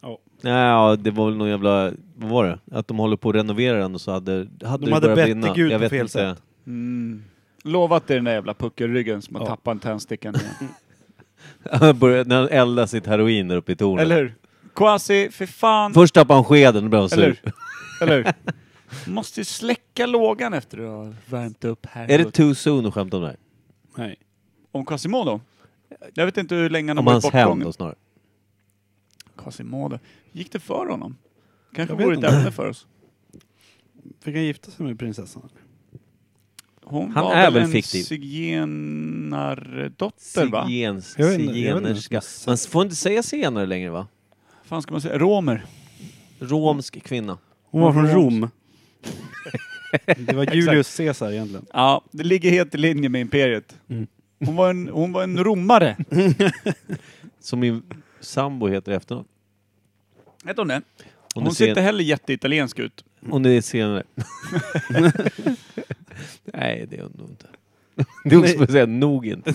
[SPEAKER 2] ja.
[SPEAKER 3] Nej, ja, det var väl någon jävla... Vad var det? Att de håller på att renovera den och så hade, hade
[SPEAKER 2] De
[SPEAKER 3] det
[SPEAKER 2] hade
[SPEAKER 3] börjat
[SPEAKER 2] bett
[SPEAKER 3] brinna.
[SPEAKER 2] till Gud
[SPEAKER 3] Jag
[SPEAKER 2] på
[SPEAKER 3] vet
[SPEAKER 2] fel
[SPEAKER 3] inte.
[SPEAKER 2] sätt.
[SPEAKER 1] Lovat dig den där jävla puckelryggen som har
[SPEAKER 2] Ja.
[SPEAKER 1] tappat en tändstickan.
[SPEAKER 3] [LAUGHS] Började- När han eldade sitt heroin där uppe i tornet.
[SPEAKER 1] Eller hur? Quasi, för fan.
[SPEAKER 3] Först tappade han skeden och blev han
[SPEAKER 1] Eller
[SPEAKER 3] sur.
[SPEAKER 1] hur?
[SPEAKER 3] [LAUGHS]
[SPEAKER 1] Eller hur? Måste ju släcka lågan efter att ha värmt upp här.
[SPEAKER 3] Är det too soon att skämta om det här?
[SPEAKER 2] Nej.
[SPEAKER 1] Om Quasimodo? Jag vet inte hur länge han har
[SPEAKER 3] Om
[SPEAKER 1] varit
[SPEAKER 3] hans hämnd
[SPEAKER 1] bortgången.
[SPEAKER 3] då snarare.
[SPEAKER 1] Quasimodo. Gick det för honom? Kanske
[SPEAKER 2] Jag vet
[SPEAKER 1] vore ett
[SPEAKER 2] inte.
[SPEAKER 1] ämne för oss.
[SPEAKER 2] Fick han gifta sig med prinsessan?
[SPEAKER 1] Hon
[SPEAKER 3] Han
[SPEAKER 1] var
[SPEAKER 3] är väl
[SPEAKER 1] en
[SPEAKER 3] fiktiv.
[SPEAKER 1] zigenardotter va?
[SPEAKER 3] Zigens,
[SPEAKER 2] Jag vet inte, jag vet inte.
[SPEAKER 3] zigenerska. Man får inte säga zigenare längre va?
[SPEAKER 1] fan ska man säga? Romer.
[SPEAKER 3] Romsk kvinna.
[SPEAKER 2] Hon var från Rom. [LAUGHS] det var Julius Caesar egentligen.
[SPEAKER 1] Ja, det ligger helt i linje med imperiet. Hon, var en, hon var en romare.
[SPEAKER 3] Som min sambo heter i efternamn.
[SPEAKER 1] Vet hon det?
[SPEAKER 3] Om
[SPEAKER 1] Hon
[SPEAKER 3] du ser-
[SPEAKER 1] ser inte heller jätteitaliensk ut.
[SPEAKER 3] Om det är senare. [LAUGHS] Nej, det är hon
[SPEAKER 2] [LAUGHS]
[SPEAKER 3] nog inte. [LAUGHS] Det är också att säga nog [LAUGHS] inte.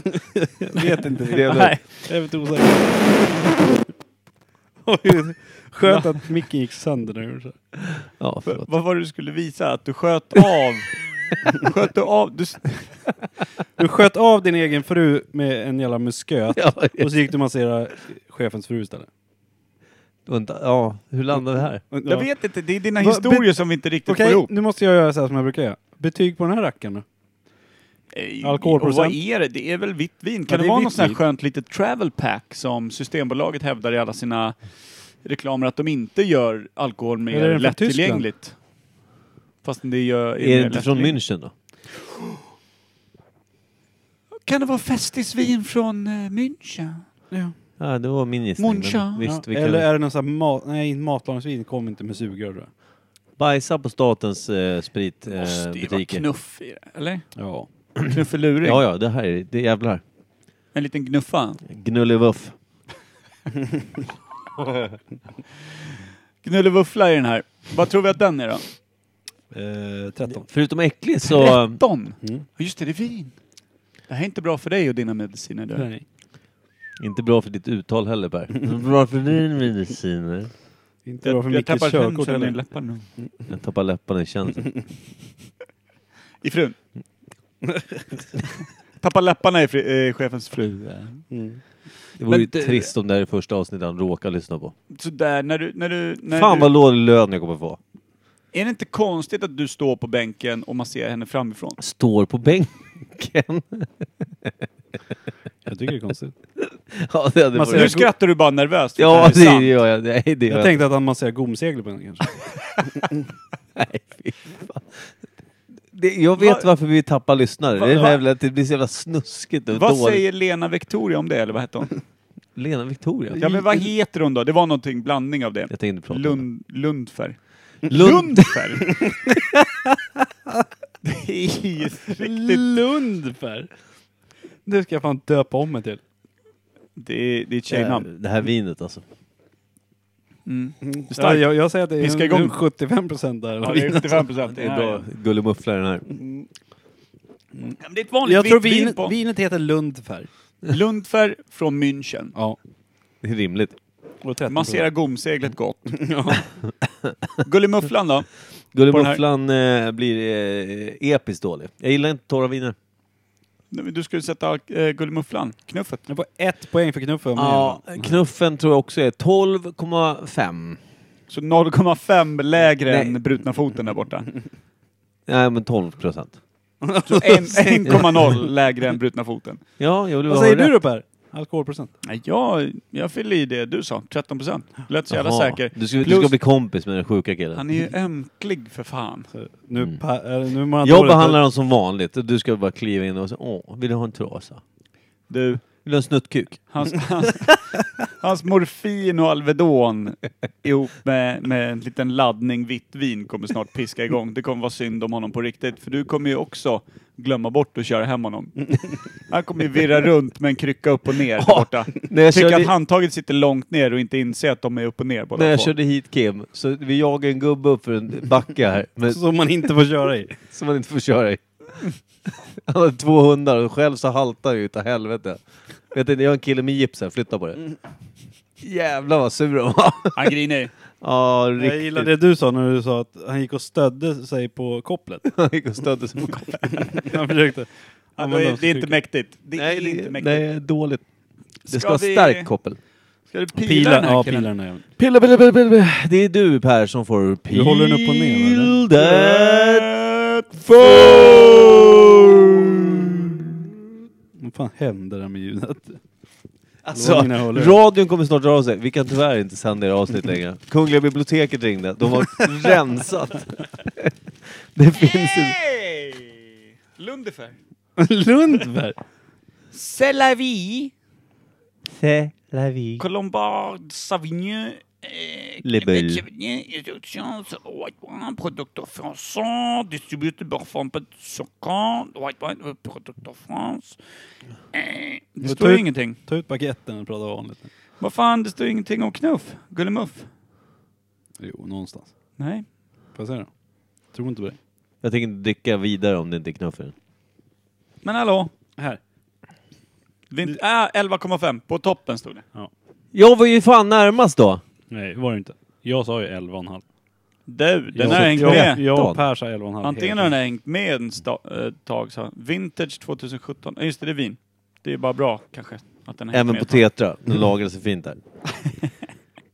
[SPEAKER 2] Jag vet inte
[SPEAKER 3] Det är väl,
[SPEAKER 2] Jag är lite osäker. [LAUGHS] Oj, Skönt att micken gick sönder när jag gjorde så. här.
[SPEAKER 3] ja,
[SPEAKER 1] V-
[SPEAKER 2] [LAUGHS]
[SPEAKER 3] förlåt.
[SPEAKER 1] Vad var det du skulle visa? Att du sköt
[SPEAKER 3] [LAUGHS]
[SPEAKER 1] av... sköt du av... Du, s-
[SPEAKER 2] Du sköt av din egen fru med en jävla [LAUGHS] musköt
[SPEAKER 3] Ja,
[SPEAKER 2] och så gick du och masserade chefens fru istället.
[SPEAKER 3] vänta, ja, hur landade vi här?
[SPEAKER 2] Ja.
[SPEAKER 1] jag vet inte, det är dina
[SPEAKER 2] Vad-
[SPEAKER 1] historier som vi inte riktigt
[SPEAKER 2] Okej,
[SPEAKER 1] får ihop.
[SPEAKER 2] nu måste jag göra så här som jag brukar göra. Betyg på den här rackaren då?
[SPEAKER 1] Ej,
[SPEAKER 2] Alkoholprocent.
[SPEAKER 1] och Vad är det? Det är väl vitt vin? Kan
[SPEAKER 2] det
[SPEAKER 1] det,
[SPEAKER 2] är
[SPEAKER 1] vara
[SPEAKER 2] vitt
[SPEAKER 1] något sånt här
[SPEAKER 2] vin.
[SPEAKER 1] skönt litet travel pack som Systembolaget hävdar i alla sina reklamer att de inte gör alkohol
[SPEAKER 2] Eller
[SPEAKER 1] mer
[SPEAKER 2] är den från Tyskland?
[SPEAKER 1] lättillgängligt? Fast det gör...
[SPEAKER 3] Är
[SPEAKER 1] mer
[SPEAKER 3] det inte från
[SPEAKER 1] lättillgängligt.
[SPEAKER 3] München då?
[SPEAKER 1] Kan det vara festisvin från eh, München?
[SPEAKER 3] Ja, det var min gissning. men
[SPEAKER 1] München.
[SPEAKER 3] Visst, vi
[SPEAKER 2] Eller
[SPEAKER 3] kan
[SPEAKER 2] är det någon sån här mat... Nej, matlagningsvin kom inte med sugrör tror jag.
[SPEAKER 3] bajsa på statens eh,
[SPEAKER 1] Måste ju vara
[SPEAKER 3] spritbutiker.
[SPEAKER 1] knuff i det,
[SPEAKER 2] [CLEARS THROAT]
[SPEAKER 1] eller?
[SPEAKER 2] Ja.
[SPEAKER 1] Knuffeluring?
[SPEAKER 3] ja, ja, det här är det är jävlar.
[SPEAKER 1] En liten gnuffa?
[SPEAKER 3] Gnullevuff.
[SPEAKER 1] Gnullevuffla i den här. Vad tror vi att den är då?
[SPEAKER 2] Eh, 13.
[SPEAKER 3] Förutom äcklig [LAUGHS] så...
[SPEAKER 1] 13?
[SPEAKER 2] Mm.
[SPEAKER 1] Ja, Just det, det är vin. Det här är inte bra för dig och dina mediciner. Du.
[SPEAKER 2] Nej.
[SPEAKER 3] Inte bra för ditt uttal heller Per. bra för din mediciner.
[SPEAKER 2] Inte bra för
[SPEAKER 1] Jag, jag
[SPEAKER 2] Mickes
[SPEAKER 1] tappar
[SPEAKER 2] körkort
[SPEAKER 1] hemsen i
[SPEAKER 2] heller.
[SPEAKER 1] läpparna.
[SPEAKER 3] Jag tappar läpparna i känslan.
[SPEAKER 1] I frun. [LAUGHS] Tappa läpparna i fri, eh, chefens fru.
[SPEAKER 3] Det vore
[SPEAKER 1] Men
[SPEAKER 3] ju
[SPEAKER 1] det-
[SPEAKER 3] trist om det här är första avsnittet han råkar lyssna på.
[SPEAKER 1] Så där, när du... När du när
[SPEAKER 3] Fan
[SPEAKER 1] du,
[SPEAKER 3] vad låg lön jag kommer få.
[SPEAKER 1] Är det inte konstigt att du står på bänken och man ser henne framifrån?
[SPEAKER 3] Står på bänken. [LAUGHS]
[SPEAKER 2] Jag tycker det
[SPEAKER 1] [LAUGHS]
[SPEAKER 2] är konstigt.
[SPEAKER 3] ja, Alltså, det hade
[SPEAKER 2] Man
[SPEAKER 3] varit...
[SPEAKER 2] ser-
[SPEAKER 1] Nu skrattar du bara nervöst. för
[SPEAKER 3] Ja,
[SPEAKER 1] att
[SPEAKER 3] det
[SPEAKER 1] här är sant.
[SPEAKER 3] gör jag. Nej, det gör
[SPEAKER 2] Jag
[SPEAKER 3] jag.
[SPEAKER 2] tänkte att han masserar gomsegel på henne kanske.
[SPEAKER 3] Nej, fy fan. Det, jag vet
[SPEAKER 1] Vad-
[SPEAKER 3] varför vi tappar lyssnare.
[SPEAKER 1] Va-
[SPEAKER 3] det, är
[SPEAKER 1] va-
[SPEAKER 3] jävla, det blir så jävla snuskigt och
[SPEAKER 1] Vad
[SPEAKER 3] dåligt.
[SPEAKER 1] säger Lena Victoria om det, eller vad hette
[SPEAKER 3] [LAUGHS]
[SPEAKER 1] hon?
[SPEAKER 3] Lena Victoria?
[SPEAKER 1] Ja, men vad heter hon då? Det var någonting, blandning av det.
[SPEAKER 3] Jag tänkte prata om det.
[SPEAKER 1] Lund, Lundfärg.
[SPEAKER 3] Lund-
[SPEAKER 1] Lundfärg? [LAUGHS] det är
[SPEAKER 2] [LAUGHS]
[SPEAKER 1] ju riktigt...
[SPEAKER 2] Lundfär! Det ska jag fan döpa om mig till.
[SPEAKER 1] Det är, det är ett
[SPEAKER 3] Det här- [LAUGHS]
[SPEAKER 1] tjejnamn. Mm.
[SPEAKER 3] Det här vinet alltså.
[SPEAKER 2] Ja, jag, jag säger att det är
[SPEAKER 1] Vi ska igång.
[SPEAKER 2] 75% där.
[SPEAKER 1] Ja, det är 75 procent.
[SPEAKER 3] Det är bra gullemuffla den
[SPEAKER 1] Ja,
[SPEAKER 3] här.
[SPEAKER 1] men det är ett vanligt
[SPEAKER 2] jag tror
[SPEAKER 1] vitt
[SPEAKER 2] vin,
[SPEAKER 1] på.
[SPEAKER 2] vinet heter Lundfär.
[SPEAKER 1] Lundfärg från München.
[SPEAKER 2] Ja.
[SPEAKER 3] Det är rimligt.
[SPEAKER 2] Och 13%.
[SPEAKER 1] Massera gomseglet
[SPEAKER 3] [LAUGHS]
[SPEAKER 1] gott. [LAUGHS] Gullimufflan då?
[SPEAKER 3] Gullemufflan eh, blir eh, episkt dålig. Jag gillar inte torra viner.
[SPEAKER 1] Nej, men Du skulle sätta eh, Gullimufflan, knuffet.
[SPEAKER 2] Jag får ett poäng för knuffen.
[SPEAKER 3] Ja, knuffen tror jag också är 12,5.
[SPEAKER 1] Så 0,5 lägre
[SPEAKER 3] Nej.
[SPEAKER 1] än brutna foten där
[SPEAKER 3] [LAUGHS]
[SPEAKER 1] borta.
[SPEAKER 3] Nej, men 12 procent.
[SPEAKER 1] Så en- 1,0 lägre än brutna foten.
[SPEAKER 3] Ja, jag vill
[SPEAKER 2] Vad
[SPEAKER 3] bara
[SPEAKER 2] säger
[SPEAKER 3] ha
[SPEAKER 2] du
[SPEAKER 3] rätt.
[SPEAKER 2] då Per? Alkoholprocent?
[SPEAKER 1] Nej, jag, jag fyller i det du sa, 13 procent. Lät så jävla
[SPEAKER 3] Jaha.
[SPEAKER 1] säker.
[SPEAKER 3] Du ska, du
[SPEAKER 1] Plus-
[SPEAKER 3] ska bli kompis med den sjuka killen.
[SPEAKER 1] Han är ju ömklig för fan.
[SPEAKER 2] Nu, pa, eh, nu mår
[SPEAKER 3] Jag
[SPEAKER 2] dåligt.
[SPEAKER 3] behandlar dem som vanligt och du ska bara kliva in och säga åh, vill du ha en trasa?
[SPEAKER 1] Du,
[SPEAKER 3] Vill du ha en snuttkuk?
[SPEAKER 1] hans, hans, hans morfin och Alvedon ihop med, med en liten laddning vitt vin kommer snart piska igång. Det kommer vara synd om honom på riktigt, för du kommer ju också glömma bort att köra hem honom. Han kommer ju virra runt med en krycka upp och ner där borta.
[SPEAKER 3] när jag
[SPEAKER 1] Tycker
[SPEAKER 3] körde-
[SPEAKER 1] att handtaget sitter långt ner och inte inse att de är upp och ner båda
[SPEAKER 3] När jag
[SPEAKER 1] två.
[SPEAKER 3] körde hit Kim, så vi jagade en gubbe upp för en backe här,
[SPEAKER 2] [LAUGHS]
[SPEAKER 3] men,
[SPEAKER 2] Som man inte får köra [LAUGHS] i.
[SPEAKER 3] som man inte får köra i. [LAUGHS] Han hade två hundar och själv så haltade jag utav helvete. Vet du, jag har en kille med gips här, flytta på det. Jävlar vad sur
[SPEAKER 2] [LAUGHS]
[SPEAKER 3] han var.
[SPEAKER 1] Han grinar ju.
[SPEAKER 3] Ja, riktigt.
[SPEAKER 2] Jag gillar det du sa när du sa att han gick och stödde sig på kopplet. [LAUGHS]
[SPEAKER 3] Han gick och stödde sig på kopparna.
[SPEAKER 2] Han försökte.
[SPEAKER 1] Ja,
[SPEAKER 2] använda
[SPEAKER 1] det, är- det är inte
[SPEAKER 2] styrka.
[SPEAKER 1] mäktigt. Det är
[SPEAKER 3] Nej,
[SPEAKER 1] inte
[SPEAKER 3] det,
[SPEAKER 1] mäktigt.
[SPEAKER 3] det är dåligt. Det ska,
[SPEAKER 1] Ska
[SPEAKER 3] vara
[SPEAKER 1] vi-
[SPEAKER 3] stark koppel.
[SPEAKER 1] Ska du pila, den
[SPEAKER 2] Pilar,
[SPEAKER 1] här
[SPEAKER 2] ja
[SPEAKER 1] killen?
[SPEAKER 2] pilarna även.
[SPEAKER 3] Pilla, pilla, pilla, pilla. Det är du Per som får pil.
[SPEAKER 2] håller den upp och ner, va, eller?
[SPEAKER 3] that
[SPEAKER 2] Vad fan hände där med ljudet? [LAUGHS]
[SPEAKER 3] Alltså,
[SPEAKER 2] Låg mina hålor.
[SPEAKER 3] radion kommer snart dra av sig. Vi kan tyvärr inte sända era
[SPEAKER 2] [LAUGHS]
[SPEAKER 3] avsnitt längre. Kungliga biblioteket ringde. De har rensat. Det finns inte.
[SPEAKER 1] Hey! Lundefer.
[SPEAKER 2] Lundberg!
[SPEAKER 1] C'est la vie.
[SPEAKER 3] C'est la vie.
[SPEAKER 1] Colombard Savigny. eh,
[SPEAKER 3] Les
[SPEAKER 1] Québec
[SPEAKER 3] Bulles.
[SPEAKER 1] Savigny, Introduction, White Wine, producteur français, distributeur par Fompat sur Caen, White Wine, eh, producteur France. Eh, Det står
[SPEAKER 2] ut-
[SPEAKER 1] ingenting.
[SPEAKER 2] Ta ut baguetten och prata vanligt.
[SPEAKER 1] Vad fan, det står ingenting om knuff. Gullemuff.
[SPEAKER 2] Jo, någonstans.
[SPEAKER 1] Nej.
[SPEAKER 2] Får jag säga det? Tror inte på det.
[SPEAKER 3] Jag tänker inte dricka vidare om det inte är knuffen.
[SPEAKER 1] Men hallå.
[SPEAKER 2] Här.
[SPEAKER 1] Vint- ah, 11,5. På toppen stod det.
[SPEAKER 3] Jag var ju fan närmast då.
[SPEAKER 2] Nej, var det inte. Jag sa ju 11,5.
[SPEAKER 1] Du, den
[SPEAKER 2] jag,
[SPEAKER 1] har hängt
[SPEAKER 2] jag,
[SPEAKER 1] med.
[SPEAKER 2] Jag och Per sa 11,5.
[SPEAKER 1] Antingen har den här hängt med en sta, eh, tag, så. här. Vintage 2017. Ja, Just det, det är vin. Det är bara bra kanske. Att den har hängt
[SPEAKER 3] Även
[SPEAKER 1] med
[SPEAKER 3] på
[SPEAKER 1] ett tag.
[SPEAKER 3] Tetra. Den
[SPEAKER 2] Mm.
[SPEAKER 3] lagrar sig fint där.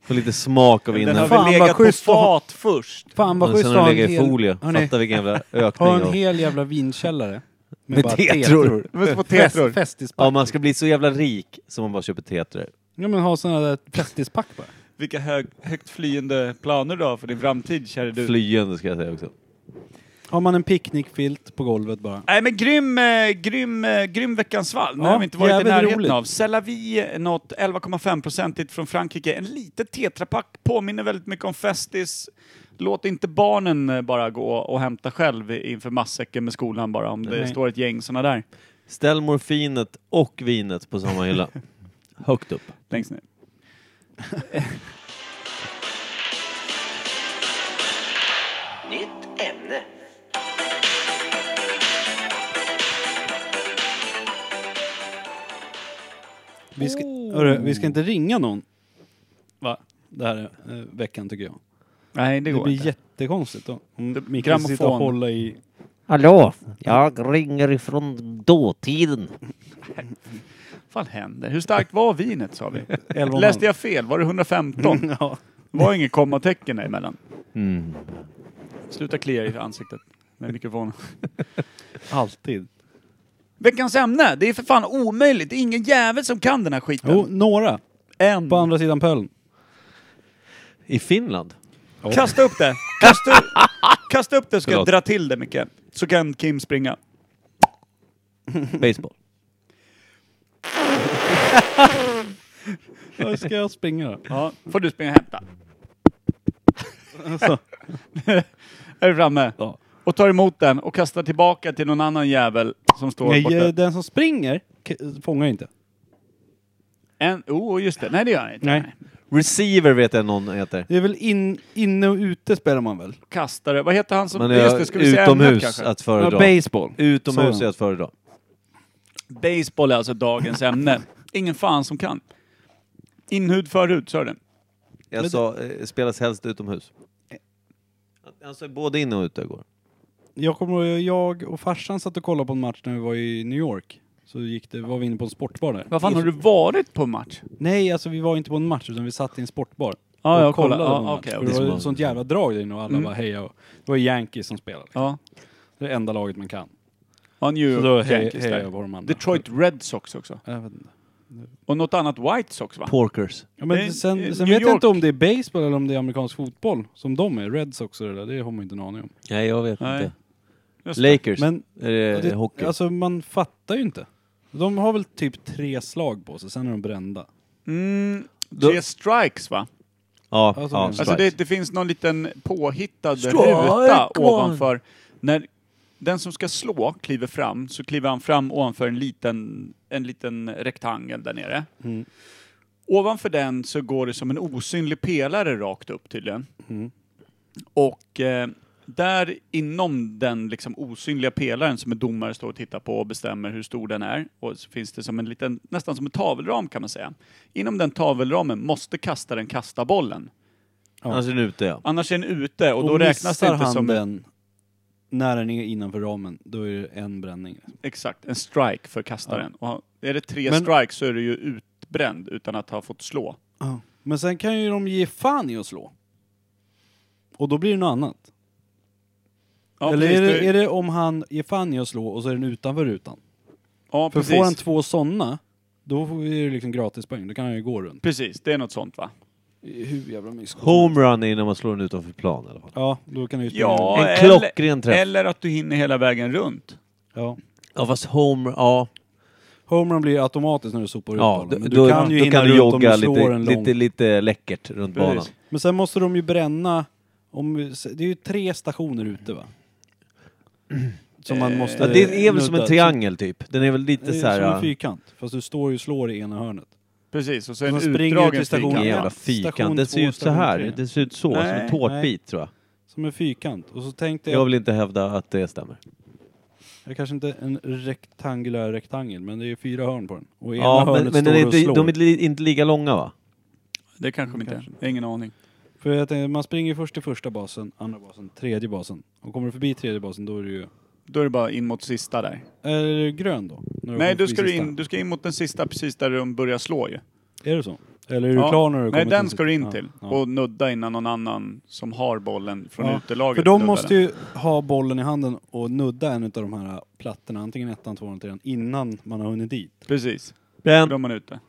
[SPEAKER 3] Får lite smak av
[SPEAKER 1] Den har
[SPEAKER 3] innan.
[SPEAKER 2] Fan,
[SPEAKER 1] väl
[SPEAKER 2] vad
[SPEAKER 1] legat på
[SPEAKER 2] schysst att ha-
[SPEAKER 1] fat först.
[SPEAKER 2] Fan
[SPEAKER 3] Och sen
[SPEAKER 2] att
[SPEAKER 3] har
[SPEAKER 2] ha
[SPEAKER 3] den
[SPEAKER 2] en
[SPEAKER 3] legat i
[SPEAKER 2] hel-
[SPEAKER 3] folie.
[SPEAKER 2] Hörni,
[SPEAKER 3] Fatta vilken jävla
[SPEAKER 2] Ha
[SPEAKER 3] ökning.
[SPEAKER 2] en
[SPEAKER 3] av-
[SPEAKER 2] hel jävla vinkällare. Med, bara
[SPEAKER 3] tetror.
[SPEAKER 1] Men på
[SPEAKER 2] Fest,
[SPEAKER 1] tetror.
[SPEAKER 3] Ja,
[SPEAKER 2] festispack.
[SPEAKER 3] man ska bli så jävla rik som man bara köper Tetra.
[SPEAKER 2] Ja men ha sådana där festispack bara.
[SPEAKER 1] Vilka hög, högt flyende planer du har för din framtid, käre du.
[SPEAKER 3] Flyende ska jag säga också.
[SPEAKER 2] Har man en picknickfilt på golvet bara.
[SPEAKER 1] Nej men grym, eh, grym, eh, grym veckans val. Nu
[SPEAKER 2] Ja,
[SPEAKER 1] har vi inte varit i
[SPEAKER 2] jävligt
[SPEAKER 1] närheten
[SPEAKER 2] roligt.
[SPEAKER 1] av. eh, Cellavi något 11,5-procentigt från Frankrike. En litet tetrapack påminner väldigt mycket om Festis. Låt inte barnen eh, bara gå och hämta själv inför matsäcken med skolan bara om det
[SPEAKER 2] Nej.
[SPEAKER 1] står ett gäng sådana där
[SPEAKER 3] Ställ morfinet och vinet på samma
[SPEAKER 2] [LAUGHS]
[SPEAKER 3] hylla. Högt upp.
[SPEAKER 1] längst ner.
[SPEAKER 6] Nytt ämne.
[SPEAKER 2] Vi ska, hörru, vi ska inte ringa någon. Va? Det här är, eh, veckan tycker jag.
[SPEAKER 1] Nej, det
[SPEAKER 2] Det
[SPEAKER 1] går
[SPEAKER 2] blir
[SPEAKER 1] inte.
[SPEAKER 2] jättekonstigt då. Om
[SPEAKER 1] Det-
[SPEAKER 2] Micke ska sitta och
[SPEAKER 1] grammofon.
[SPEAKER 2] hålla i
[SPEAKER 3] Hallå, jag ringer ifrån dåtiden.
[SPEAKER 1] fan händer? Hur starkt var vinet sa vi? [LAUGHS]
[SPEAKER 2] 11,5.
[SPEAKER 1] Läste jag fel? Var det 115?
[SPEAKER 2] Ja.
[SPEAKER 1] Det var inget kommatecken däremellan. Mm. Sluta klia i ansiktet med mikrofonen.
[SPEAKER 2] Alltid.
[SPEAKER 1] [LAUGHS] Veckans ämne, det är för fan omöjligt. Det är ingen jävel som kan den här skiten.
[SPEAKER 2] Jo, några.
[SPEAKER 1] en.
[SPEAKER 2] På andra sidan pölen.
[SPEAKER 3] I Finland?
[SPEAKER 1] Kasta upp det! Kasta, [LAUGHS] kasta upp det ska jag
[SPEAKER 3] Förlåt.
[SPEAKER 1] dra till det Micke. Så kan Kim springa.
[SPEAKER 3] Baseball.
[SPEAKER 2] Var ska jag springa då?
[SPEAKER 1] Ja, får du springa och hämta.
[SPEAKER 2] Alltså,
[SPEAKER 1] Är du framme?
[SPEAKER 2] Ja.
[SPEAKER 1] Och tar emot den och kastar tillbaka till någon annan jävel som står
[SPEAKER 2] nej,
[SPEAKER 1] borta.
[SPEAKER 2] eh, den som springer k- fångar inte.
[SPEAKER 1] En, oh, just det. Nej, det gör han inte.
[SPEAKER 2] Nej.
[SPEAKER 3] [LAUGHS] Receiver vet jag någon heter.
[SPEAKER 2] Det är väl in, inne och ute spelar man väl?
[SPEAKER 1] Kastare. Vad heter han som...
[SPEAKER 3] Men
[SPEAKER 1] just
[SPEAKER 3] jag,
[SPEAKER 1] det, ska vi säga ämnet
[SPEAKER 3] utomhus
[SPEAKER 1] kanske?
[SPEAKER 3] att
[SPEAKER 2] Ja,
[SPEAKER 3] föredra.
[SPEAKER 2] baseball.
[SPEAKER 3] Utomhus
[SPEAKER 2] Så.
[SPEAKER 3] är att föredra.
[SPEAKER 1] Baseball är alltså dagens ämne. Ingen fan som kan. Inhud, förhud, så är det.
[SPEAKER 3] Jag sa, eh, spelas helst utomhus. Alltså både inne och ute går.
[SPEAKER 2] Jag kommer ihåg, jag och farsan satt och kollade på en match när vi var i New York. Så gick det, var vi inne på en sportbar där.
[SPEAKER 1] Vad fan, har du varit på match?
[SPEAKER 2] Nej, alltså vi var inte på en match utan vi satt i en sportbar.
[SPEAKER 1] Ah, Ja, jag
[SPEAKER 2] och
[SPEAKER 1] kollar.
[SPEAKER 2] kollade
[SPEAKER 1] Ja,
[SPEAKER 2] på en match.
[SPEAKER 1] okej,
[SPEAKER 2] För
[SPEAKER 1] okej.
[SPEAKER 2] Det var
[SPEAKER 3] Det
[SPEAKER 2] ju
[SPEAKER 3] var-
[SPEAKER 2] ett sånt jävla drag där inne och alla bara heja. Och det var Yankees som spelade.
[SPEAKER 1] Mm. Ja.
[SPEAKER 2] Det är det enda laget man kan.
[SPEAKER 1] Ja, New
[SPEAKER 2] Så då
[SPEAKER 1] York
[SPEAKER 2] hej,
[SPEAKER 1] Yankees
[SPEAKER 2] hejar jag
[SPEAKER 1] där.
[SPEAKER 2] på de andra.
[SPEAKER 1] Detroit Red Sox också.
[SPEAKER 2] Jag vet inte.
[SPEAKER 1] Och något annat White Sox va?
[SPEAKER 3] Porkers.
[SPEAKER 2] Ja,
[SPEAKER 1] Eh,
[SPEAKER 2] men
[SPEAKER 1] eh,
[SPEAKER 2] sen sen
[SPEAKER 1] New
[SPEAKER 2] vet jag inte
[SPEAKER 1] York.
[SPEAKER 2] om det är baseball eller om det är amerikansk fotboll som de är. Red Sox och det där, det har man inte en aning om.
[SPEAKER 3] Nej, jag vet
[SPEAKER 1] Nej.
[SPEAKER 3] inte.
[SPEAKER 1] Just det.
[SPEAKER 3] Lakers.
[SPEAKER 2] Men
[SPEAKER 3] är
[SPEAKER 1] Eh,
[SPEAKER 3] det,
[SPEAKER 2] det,
[SPEAKER 3] hockey?
[SPEAKER 2] alltså man fattar ju inte. De har väl typ tre slag på sig, sen är de brända.
[SPEAKER 1] Mm, tre
[SPEAKER 3] Då-
[SPEAKER 1] strikes va?
[SPEAKER 3] ja,
[SPEAKER 2] alltså,
[SPEAKER 3] ja,
[SPEAKER 2] men-
[SPEAKER 1] Alltså det,
[SPEAKER 3] strikes.
[SPEAKER 1] det finns någon liten påhittad
[SPEAKER 3] Strike
[SPEAKER 1] ruta
[SPEAKER 3] one.
[SPEAKER 1] ovanför. När den som ska slå kliver fram så kliver han fram ovanför en liten, en liten rektangel där nere.
[SPEAKER 2] Mm.
[SPEAKER 1] Ovanför den så går det som en osynlig pelare rakt upp tydligen. Och eh, där inom den liksom osynliga pelaren som en domare står och tittar på och bestämmer hur stor den är, och så finns det som en liten, nästan som en tavelram kan man säga. Inom den tavelramen måste kastaren kasta bollen.
[SPEAKER 3] Annars är den ute ja.
[SPEAKER 1] Annars är den ute och, då
[SPEAKER 2] missar
[SPEAKER 1] räknas det inte
[SPEAKER 2] han
[SPEAKER 1] som en,
[SPEAKER 2] den när den är innanför ramen, då är det en bränning.
[SPEAKER 1] exakt, en strike för kastaren. Och är det tre
[SPEAKER 2] Men-
[SPEAKER 1] strikes så är du ju utbränd utan att ha fått slå.
[SPEAKER 2] Men sen kan ju de ge fan i att slå. Och då blir det något annat.
[SPEAKER 1] Ja,
[SPEAKER 2] Eller
[SPEAKER 1] precis,
[SPEAKER 2] är,
[SPEAKER 1] du-
[SPEAKER 2] det, är det om han ger fan i att slå och så är den utanför rutan?
[SPEAKER 1] ja,
[SPEAKER 2] För
[SPEAKER 1] precis.
[SPEAKER 2] får han två sådana, då får- är det liksom gratispoäng. Då kan han ju gå runt.
[SPEAKER 1] precis, det är något sånt va?
[SPEAKER 2] Hur jävla mysko.
[SPEAKER 3] Homerun är när man slår den utanför plan i alla fall.
[SPEAKER 2] Ja, då kan han ju springa
[SPEAKER 1] Ja,
[SPEAKER 2] runt.
[SPEAKER 3] En
[SPEAKER 1] eller-
[SPEAKER 3] klockren träff.
[SPEAKER 1] Eller att du hinner hela vägen runt.
[SPEAKER 2] ja.
[SPEAKER 3] Ja fast home, ja.
[SPEAKER 2] Homerun blir automatiskt när du sopar ut
[SPEAKER 3] ja
[SPEAKER 2] bollen. Men
[SPEAKER 3] då-
[SPEAKER 2] du kan ju
[SPEAKER 3] då
[SPEAKER 2] hinna
[SPEAKER 3] kan du
[SPEAKER 2] runt om
[SPEAKER 3] jogga
[SPEAKER 2] du slår
[SPEAKER 3] lite,
[SPEAKER 2] en lång.
[SPEAKER 3] lite, lite läckert runt
[SPEAKER 1] Precis.
[SPEAKER 3] banan.
[SPEAKER 2] Men sen måste de ju bränna, om, det är ju tre stationer ute va? Som man måste...
[SPEAKER 3] Eh, Ja, det är väl
[SPEAKER 2] nudda.
[SPEAKER 3] som en triangel typ. Den är väl
[SPEAKER 2] Det är
[SPEAKER 3] lite så
[SPEAKER 2] som en
[SPEAKER 3] här. äh,
[SPEAKER 2] fyrkant, fast du står ju och slår i ena hörnet.
[SPEAKER 1] Precis, och så en
[SPEAKER 2] Och så springer du
[SPEAKER 1] utdragen
[SPEAKER 2] till stationen.
[SPEAKER 1] station.
[SPEAKER 3] Ingen
[SPEAKER 2] Ja.
[SPEAKER 3] jävla
[SPEAKER 2] Station
[SPEAKER 3] fyrkant. Den ser
[SPEAKER 2] två,
[SPEAKER 3] ut så här.
[SPEAKER 2] station tre.
[SPEAKER 3] Den ser ut så, som
[SPEAKER 1] Nej,
[SPEAKER 3] en tårtbit tror jag.
[SPEAKER 2] Som en fyrkant. Och så tänkte jag,
[SPEAKER 3] Jag
[SPEAKER 2] jag,
[SPEAKER 3] vill inte hävda att det stämmer.
[SPEAKER 2] kanske inte en rektangulär rektangel, men det är fyra hörn på den. Och i ena
[SPEAKER 3] Ja, men,
[SPEAKER 2] hörnet
[SPEAKER 3] men
[SPEAKER 2] står
[SPEAKER 3] den är
[SPEAKER 2] du och
[SPEAKER 3] inte,
[SPEAKER 2] slår.
[SPEAKER 3] de är li- inte lika långa va?
[SPEAKER 1] Det kanske de inte är. Jag har Ingen aning.
[SPEAKER 2] För jag tänkte, man springer ju först till första basen, andra basen, tredje basen. Och kommer du förbi tredje basen då är du ju...
[SPEAKER 1] Då är det bara in mot sista där.
[SPEAKER 2] Är du grön då? När du
[SPEAKER 1] Nej, du
[SPEAKER 2] kommer förbi
[SPEAKER 1] ska, du
[SPEAKER 2] sista?
[SPEAKER 1] in, du ska in mot den sista precis där de börjar slå ju.
[SPEAKER 2] Är det så? Eller är du klar när du kommer
[SPEAKER 1] Nej,
[SPEAKER 2] till
[SPEAKER 1] den
[SPEAKER 2] sista?
[SPEAKER 1] ska du in
[SPEAKER 2] Ja,
[SPEAKER 1] till.
[SPEAKER 2] ja.
[SPEAKER 1] Och nudda innan någon annan som har bollen från
[SPEAKER 2] Ja,
[SPEAKER 1] utelaget.
[SPEAKER 2] För de
[SPEAKER 1] nuddar
[SPEAKER 2] måste
[SPEAKER 1] den.
[SPEAKER 2] ju ha bollen i handen och nudda en av de här plattorna, antingen ettan, tvåan, trean, innan man har hunnit dit.
[SPEAKER 1] Precis. För
[SPEAKER 3] Den,
[SPEAKER 1] de är ute.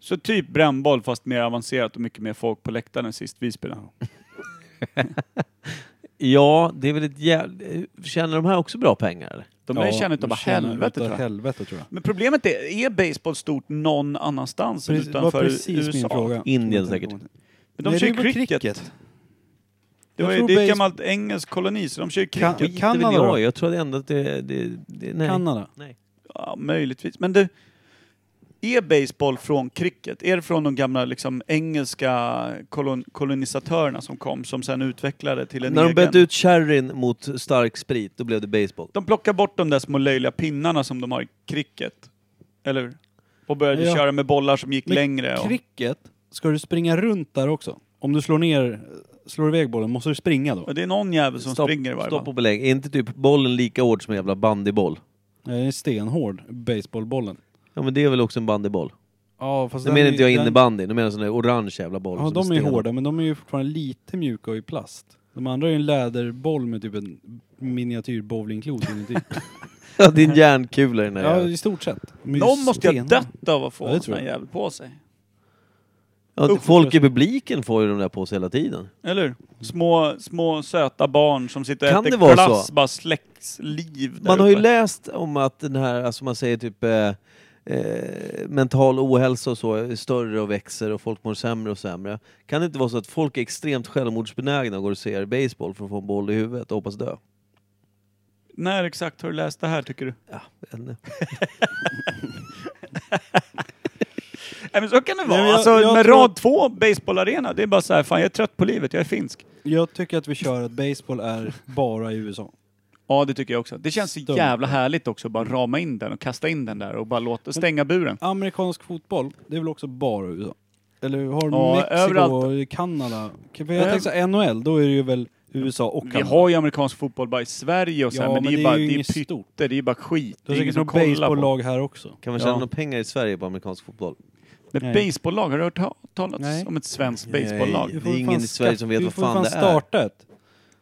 [SPEAKER 1] Så typ brännboll fast mer avancerat och mycket mer folk på läktaren än sist vi spelade.
[SPEAKER 3] ja, det är väl ett jävla... Tjänar de här också bra pengar eller?
[SPEAKER 1] De där
[SPEAKER 2] Ja,
[SPEAKER 1] känner inte
[SPEAKER 2] de
[SPEAKER 1] bara
[SPEAKER 2] känner
[SPEAKER 1] helvete
[SPEAKER 2] utav
[SPEAKER 1] tror jag.
[SPEAKER 2] helvete tror jag.
[SPEAKER 1] Men problemet är, är baseball stort någon annanstans än
[SPEAKER 2] Precis, det var
[SPEAKER 1] utanför
[SPEAKER 2] precis
[SPEAKER 1] USA?
[SPEAKER 2] min fråga.
[SPEAKER 3] Indien säkert.
[SPEAKER 1] Men de
[SPEAKER 2] Nej,
[SPEAKER 1] kör ju
[SPEAKER 2] det är väl
[SPEAKER 1] cricket. Det,
[SPEAKER 2] Jag
[SPEAKER 1] var, ju-
[SPEAKER 2] tror
[SPEAKER 1] det är ett
[SPEAKER 2] base-
[SPEAKER 1] gammalt engelsk koloni så de kör ju
[SPEAKER 2] Kan-
[SPEAKER 1] cricket.
[SPEAKER 3] Skiter
[SPEAKER 2] Kanada
[SPEAKER 3] väl
[SPEAKER 2] då?
[SPEAKER 3] jag, i. jag tror ändå att det... det, det nej.
[SPEAKER 2] Kanada.
[SPEAKER 3] Nej.
[SPEAKER 1] Ja, möjligtvis. Men du, är baseball från cricket? Är det från de gamla liksom, engelska kolon kolonisatörerna som kom, som sen utvecklade till en
[SPEAKER 3] När de
[SPEAKER 1] egen?
[SPEAKER 3] bytte ut sherryn mot stark sprit, då blev det baseball.
[SPEAKER 1] De plockade bort de där små löjliga pinnarna som de har i cricket. Eller hur? Och började
[SPEAKER 2] Ja.
[SPEAKER 1] köra med bollar som gick
[SPEAKER 2] Men
[SPEAKER 1] längre. Och...
[SPEAKER 2] Cricket, ska du springa runt där också? Om du slår ner eh, slår du iväg bollen, måste du springa då?
[SPEAKER 1] Och det är någon jävel som
[SPEAKER 3] Stopp-
[SPEAKER 1] springer i varje
[SPEAKER 3] Stopp
[SPEAKER 1] fall.
[SPEAKER 3] och belägg. Är inte typ bollen lika hård som en jävla bandyboll?
[SPEAKER 2] Den är stenhård, baseballbollen.
[SPEAKER 3] Ja men det är väl också en bandyboll?
[SPEAKER 2] Ja, fast
[SPEAKER 3] Nu menar inte jag innebandy, nu menar jag sån där orange jävla boll.
[SPEAKER 2] Ja,
[SPEAKER 3] som
[SPEAKER 2] de är ju
[SPEAKER 3] sten.
[SPEAKER 2] hårda, men de är ju fortfarande lite mjuka och i plast. De andra är ju en läderboll med typ en miniatyr bowlingklot
[SPEAKER 3] [LAUGHS]
[SPEAKER 2] inuti.
[SPEAKER 3] Ja, din järnkula i den här
[SPEAKER 2] ja,
[SPEAKER 3] jäveln.
[SPEAKER 2] i stort sett. De är ju
[SPEAKER 1] Någon måste ju ha
[SPEAKER 2] stenhårda.
[SPEAKER 1] dött av att få
[SPEAKER 2] Ja, det
[SPEAKER 1] en
[SPEAKER 2] tror
[SPEAKER 1] sån här
[SPEAKER 2] jag.
[SPEAKER 1] jävel på sig.
[SPEAKER 3] ja,
[SPEAKER 1] Usch,
[SPEAKER 3] Folk i publiken får ju de där på sig hela tiden.
[SPEAKER 1] Eller hur? Små, små söta barn som sitter och
[SPEAKER 3] Kan det
[SPEAKER 1] äter
[SPEAKER 3] vara
[SPEAKER 1] glass,
[SPEAKER 3] så?
[SPEAKER 1] bara släcks liv där
[SPEAKER 3] Man har ju
[SPEAKER 1] uppe.
[SPEAKER 3] läst om att den här, alltså man säger typ eh, eh, mental ohälsa och så är större och växer och folk mår sämre och sämre. Kan det inte vara så att folk är extremt självmordsbenägna och går och ser baseball för att få en boll i huvudet och hoppas dö?
[SPEAKER 1] När exakt har du läst det här tycker du?
[SPEAKER 3] Ja, vet inte.
[SPEAKER 1] Nej men så kan det vara.
[SPEAKER 2] men jag-
[SPEAKER 1] alltså,
[SPEAKER 2] jag
[SPEAKER 1] med
[SPEAKER 2] tror-
[SPEAKER 1] rad två baseballarena, det är bara så här, fan jag är trött på livet, jag är finsk.
[SPEAKER 2] Jag tycker att vi kör att baseball är bara i USA.
[SPEAKER 1] Ja det tycker jag också. Det känns så
[SPEAKER 2] Stumt.
[SPEAKER 1] jävla härligt också att bara rama in den och kasta in den där och bara låta stänga buren.
[SPEAKER 2] Amerikansk fotboll, det är väl också bara USA? Eller har
[SPEAKER 1] Ja,
[SPEAKER 2] Mexiko
[SPEAKER 1] överallt.
[SPEAKER 2] och Kanada? För jag tänkte såhär, NHL, då är det ju väl USA och
[SPEAKER 1] Vi
[SPEAKER 2] Kanada.
[SPEAKER 1] har ju amerikansk fotboll bara i Sverige och så här,
[SPEAKER 2] Ja,
[SPEAKER 1] men, det är ju bara, det är
[SPEAKER 2] inget
[SPEAKER 1] pytte,
[SPEAKER 2] stort.
[SPEAKER 1] det är ju bara skit.
[SPEAKER 2] Du
[SPEAKER 1] Det
[SPEAKER 2] har
[SPEAKER 1] är ingen
[SPEAKER 2] säkert
[SPEAKER 1] som
[SPEAKER 2] något
[SPEAKER 1] kollar på.
[SPEAKER 2] baseballlag här också.
[SPEAKER 3] Kan man tjäna
[SPEAKER 1] Ja.
[SPEAKER 3] några pengar i Sverige på amerikansk fotboll?
[SPEAKER 1] Men
[SPEAKER 2] Nej.
[SPEAKER 1] baseballlag, har du hört ta- talas
[SPEAKER 2] Nej.
[SPEAKER 1] om ett svenskt
[SPEAKER 3] Nej.
[SPEAKER 1] baseballlag?
[SPEAKER 3] Det är ingen i Sverige som vet vad fan
[SPEAKER 2] det är.
[SPEAKER 3] det är.
[SPEAKER 2] starta ett.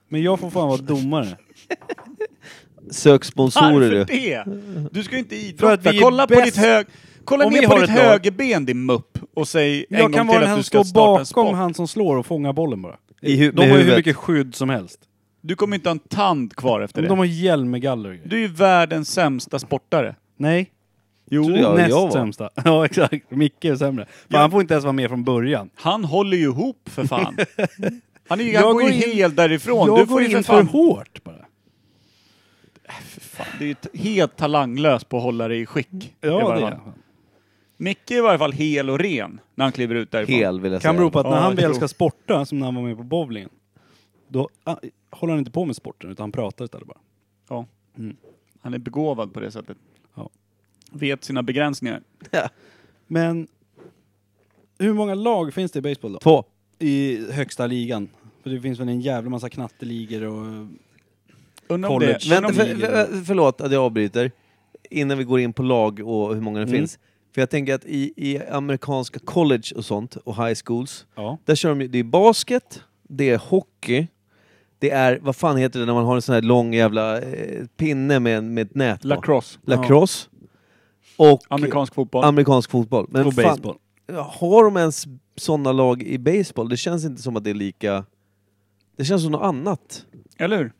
[SPEAKER 2] Men jag får fan vara domare.
[SPEAKER 3] Sök
[SPEAKER 1] [LAUGHS]
[SPEAKER 3] sponsorer
[SPEAKER 1] Varför
[SPEAKER 3] du.
[SPEAKER 1] det? Du ska ju inte
[SPEAKER 2] För att vi
[SPEAKER 1] idrotta.
[SPEAKER 2] är
[SPEAKER 1] Kolla på
[SPEAKER 2] bäst.
[SPEAKER 1] ditt hög... Kolla
[SPEAKER 2] Om vi
[SPEAKER 1] ner på
[SPEAKER 2] har
[SPEAKER 1] ditt
[SPEAKER 2] ett lag.
[SPEAKER 1] högerben din mupp och säg en
[SPEAKER 2] Jag
[SPEAKER 1] gång
[SPEAKER 2] kan
[SPEAKER 1] till
[SPEAKER 2] vara den
[SPEAKER 1] att
[SPEAKER 2] här
[SPEAKER 1] du ska
[SPEAKER 2] som står
[SPEAKER 1] starta en sport.
[SPEAKER 2] bakom han som slår och fångar bollen bara.
[SPEAKER 3] I hu-
[SPEAKER 2] de
[SPEAKER 3] med
[SPEAKER 2] har ju hur
[SPEAKER 3] huvudet.
[SPEAKER 2] mycket skydd som helst.
[SPEAKER 1] Du kommer inte ha en tand kvar efter
[SPEAKER 2] Men
[SPEAKER 1] det.
[SPEAKER 2] de har hjälm med galler och grejer.
[SPEAKER 1] Du är ju världens sämsta sportare.
[SPEAKER 2] Nej. Jo,
[SPEAKER 3] Trodde jag-
[SPEAKER 2] näst
[SPEAKER 3] jag var.
[SPEAKER 2] sämsta. [LAUGHS] Ja, exakt. Micke är sämre. Fan, Han får inte ens vara med från början.
[SPEAKER 1] Han håller ju ihop för
[SPEAKER 2] [LAUGHS]
[SPEAKER 1] fan. Han, är ju,
[SPEAKER 2] Jag
[SPEAKER 1] han går
[SPEAKER 2] går
[SPEAKER 1] ju
[SPEAKER 2] in-
[SPEAKER 1] helt därifrån.
[SPEAKER 2] jag
[SPEAKER 1] du får
[SPEAKER 2] går
[SPEAKER 1] ju för
[SPEAKER 2] in
[SPEAKER 1] fan...
[SPEAKER 2] för hårt bara.
[SPEAKER 1] fan. Du är ju t- helt talanglös på att hålla dig i skick. i varje
[SPEAKER 2] Ja, det
[SPEAKER 1] fall.
[SPEAKER 2] är han.
[SPEAKER 1] Micke är i varje fall hel och ren när han kliver ut därifrån.
[SPEAKER 3] Hel vill jag
[SPEAKER 2] Kan
[SPEAKER 3] säga.
[SPEAKER 2] bero på att när
[SPEAKER 1] Ja,
[SPEAKER 2] han
[SPEAKER 1] jag
[SPEAKER 2] väl
[SPEAKER 1] tror-
[SPEAKER 2] ska sporta, som när han var med på bowlingen, då ah, håller han inte på med sporten utan han pratar istället bara.
[SPEAKER 1] Ja.
[SPEAKER 3] Mm.
[SPEAKER 1] Han är begåvad på det sättet.
[SPEAKER 2] Ja.
[SPEAKER 1] Vet sina begränsningar.
[SPEAKER 2] Men hur många lag finns det i baseball då?
[SPEAKER 3] Två.
[SPEAKER 2] I högsta ligan? För det finns väl en jävla massa knatteligor och...
[SPEAKER 1] Undrar om
[SPEAKER 2] College.
[SPEAKER 1] det...
[SPEAKER 3] Vänta,
[SPEAKER 1] undrar
[SPEAKER 3] för,
[SPEAKER 1] om-
[SPEAKER 3] för, förlåt att jag avbryter. Innan vi går in på lag och hur
[SPEAKER 2] Mm.
[SPEAKER 3] många det finns. För jag tänker att i, i amerikanska college och sånt och high schools,
[SPEAKER 2] Ja.
[SPEAKER 3] där kör de ju, det är basket, det är hockey, det är, vad fan heter det när man har en sån här lång jävla eh, pinne med, en- med ett nät på?
[SPEAKER 1] Lacrosse.
[SPEAKER 3] Lacrosse. Och
[SPEAKER 1] Amerikansk fotboll.
[SPEAKER 3] amerikansk fotboll. Men
[SPEAKER 2] Och
[SPEAKER 3] fan,
[SPEAKER 2] baseball.
[SPEAKER 3] har de ens sådana lag i baseball? Det känns inte som att det är lika... Det känns som något annat.
[SPEAKER 1] Eller hur?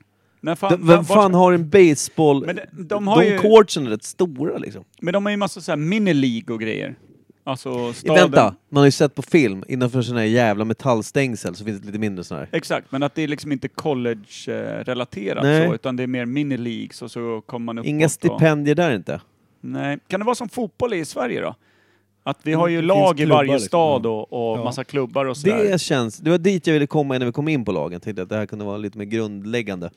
[SPEAKER 1] När fan,
[SPEAKER 3] De- Vem
[SPEAKER 1] vart-
[SPEAKER 3] fan har en baseball...
[SPEAKER 1] Men de- de
[SPEAKER 3] de
[SPEAKER 1] har ju-
[SPEAKER 3] courtsen är rätt stora liksom.
[SPEAKER 1] Men de har ju massa så här mini-league och grejer. Alltså staden.
[SPEAKER 3] Vänta, man har ju sett på film, innanför såna här jävla metallstängsel så finns det lite mindre såna här.
[SPEAKER 1] Exakt, men att det är liksom inte college-relaterat
[SPEAKER 3] Nej.
[SPEAKER 1] så, utan det är mer mini-leagues och så kommer man upp
[SPEAKER 3] Inga stipendier där inte.
[SPEAKER 1] Nej. Kan det vara som fotboll är i Sverige då? Att vi har ju
[SPEAKER 2] Det
[SPEAKER 1] lag
[SPEAKER 2] finns
[SPEAKER 1] i varje
[SPEAKER 2] klubbar liksom,
[SPEAKER 1] stad
[SPEAKER 2] ja.
[SPEAKER 1] och, och
[SPEAKER 2] Ja.
[SPEAKER 1] massa klubbar och sådär.
[SPEAKER 3] Det känns... Det var dit jag ville komma innan vi kom in på lagen. Tänkte att det här kunde vara lite mer grundläggande.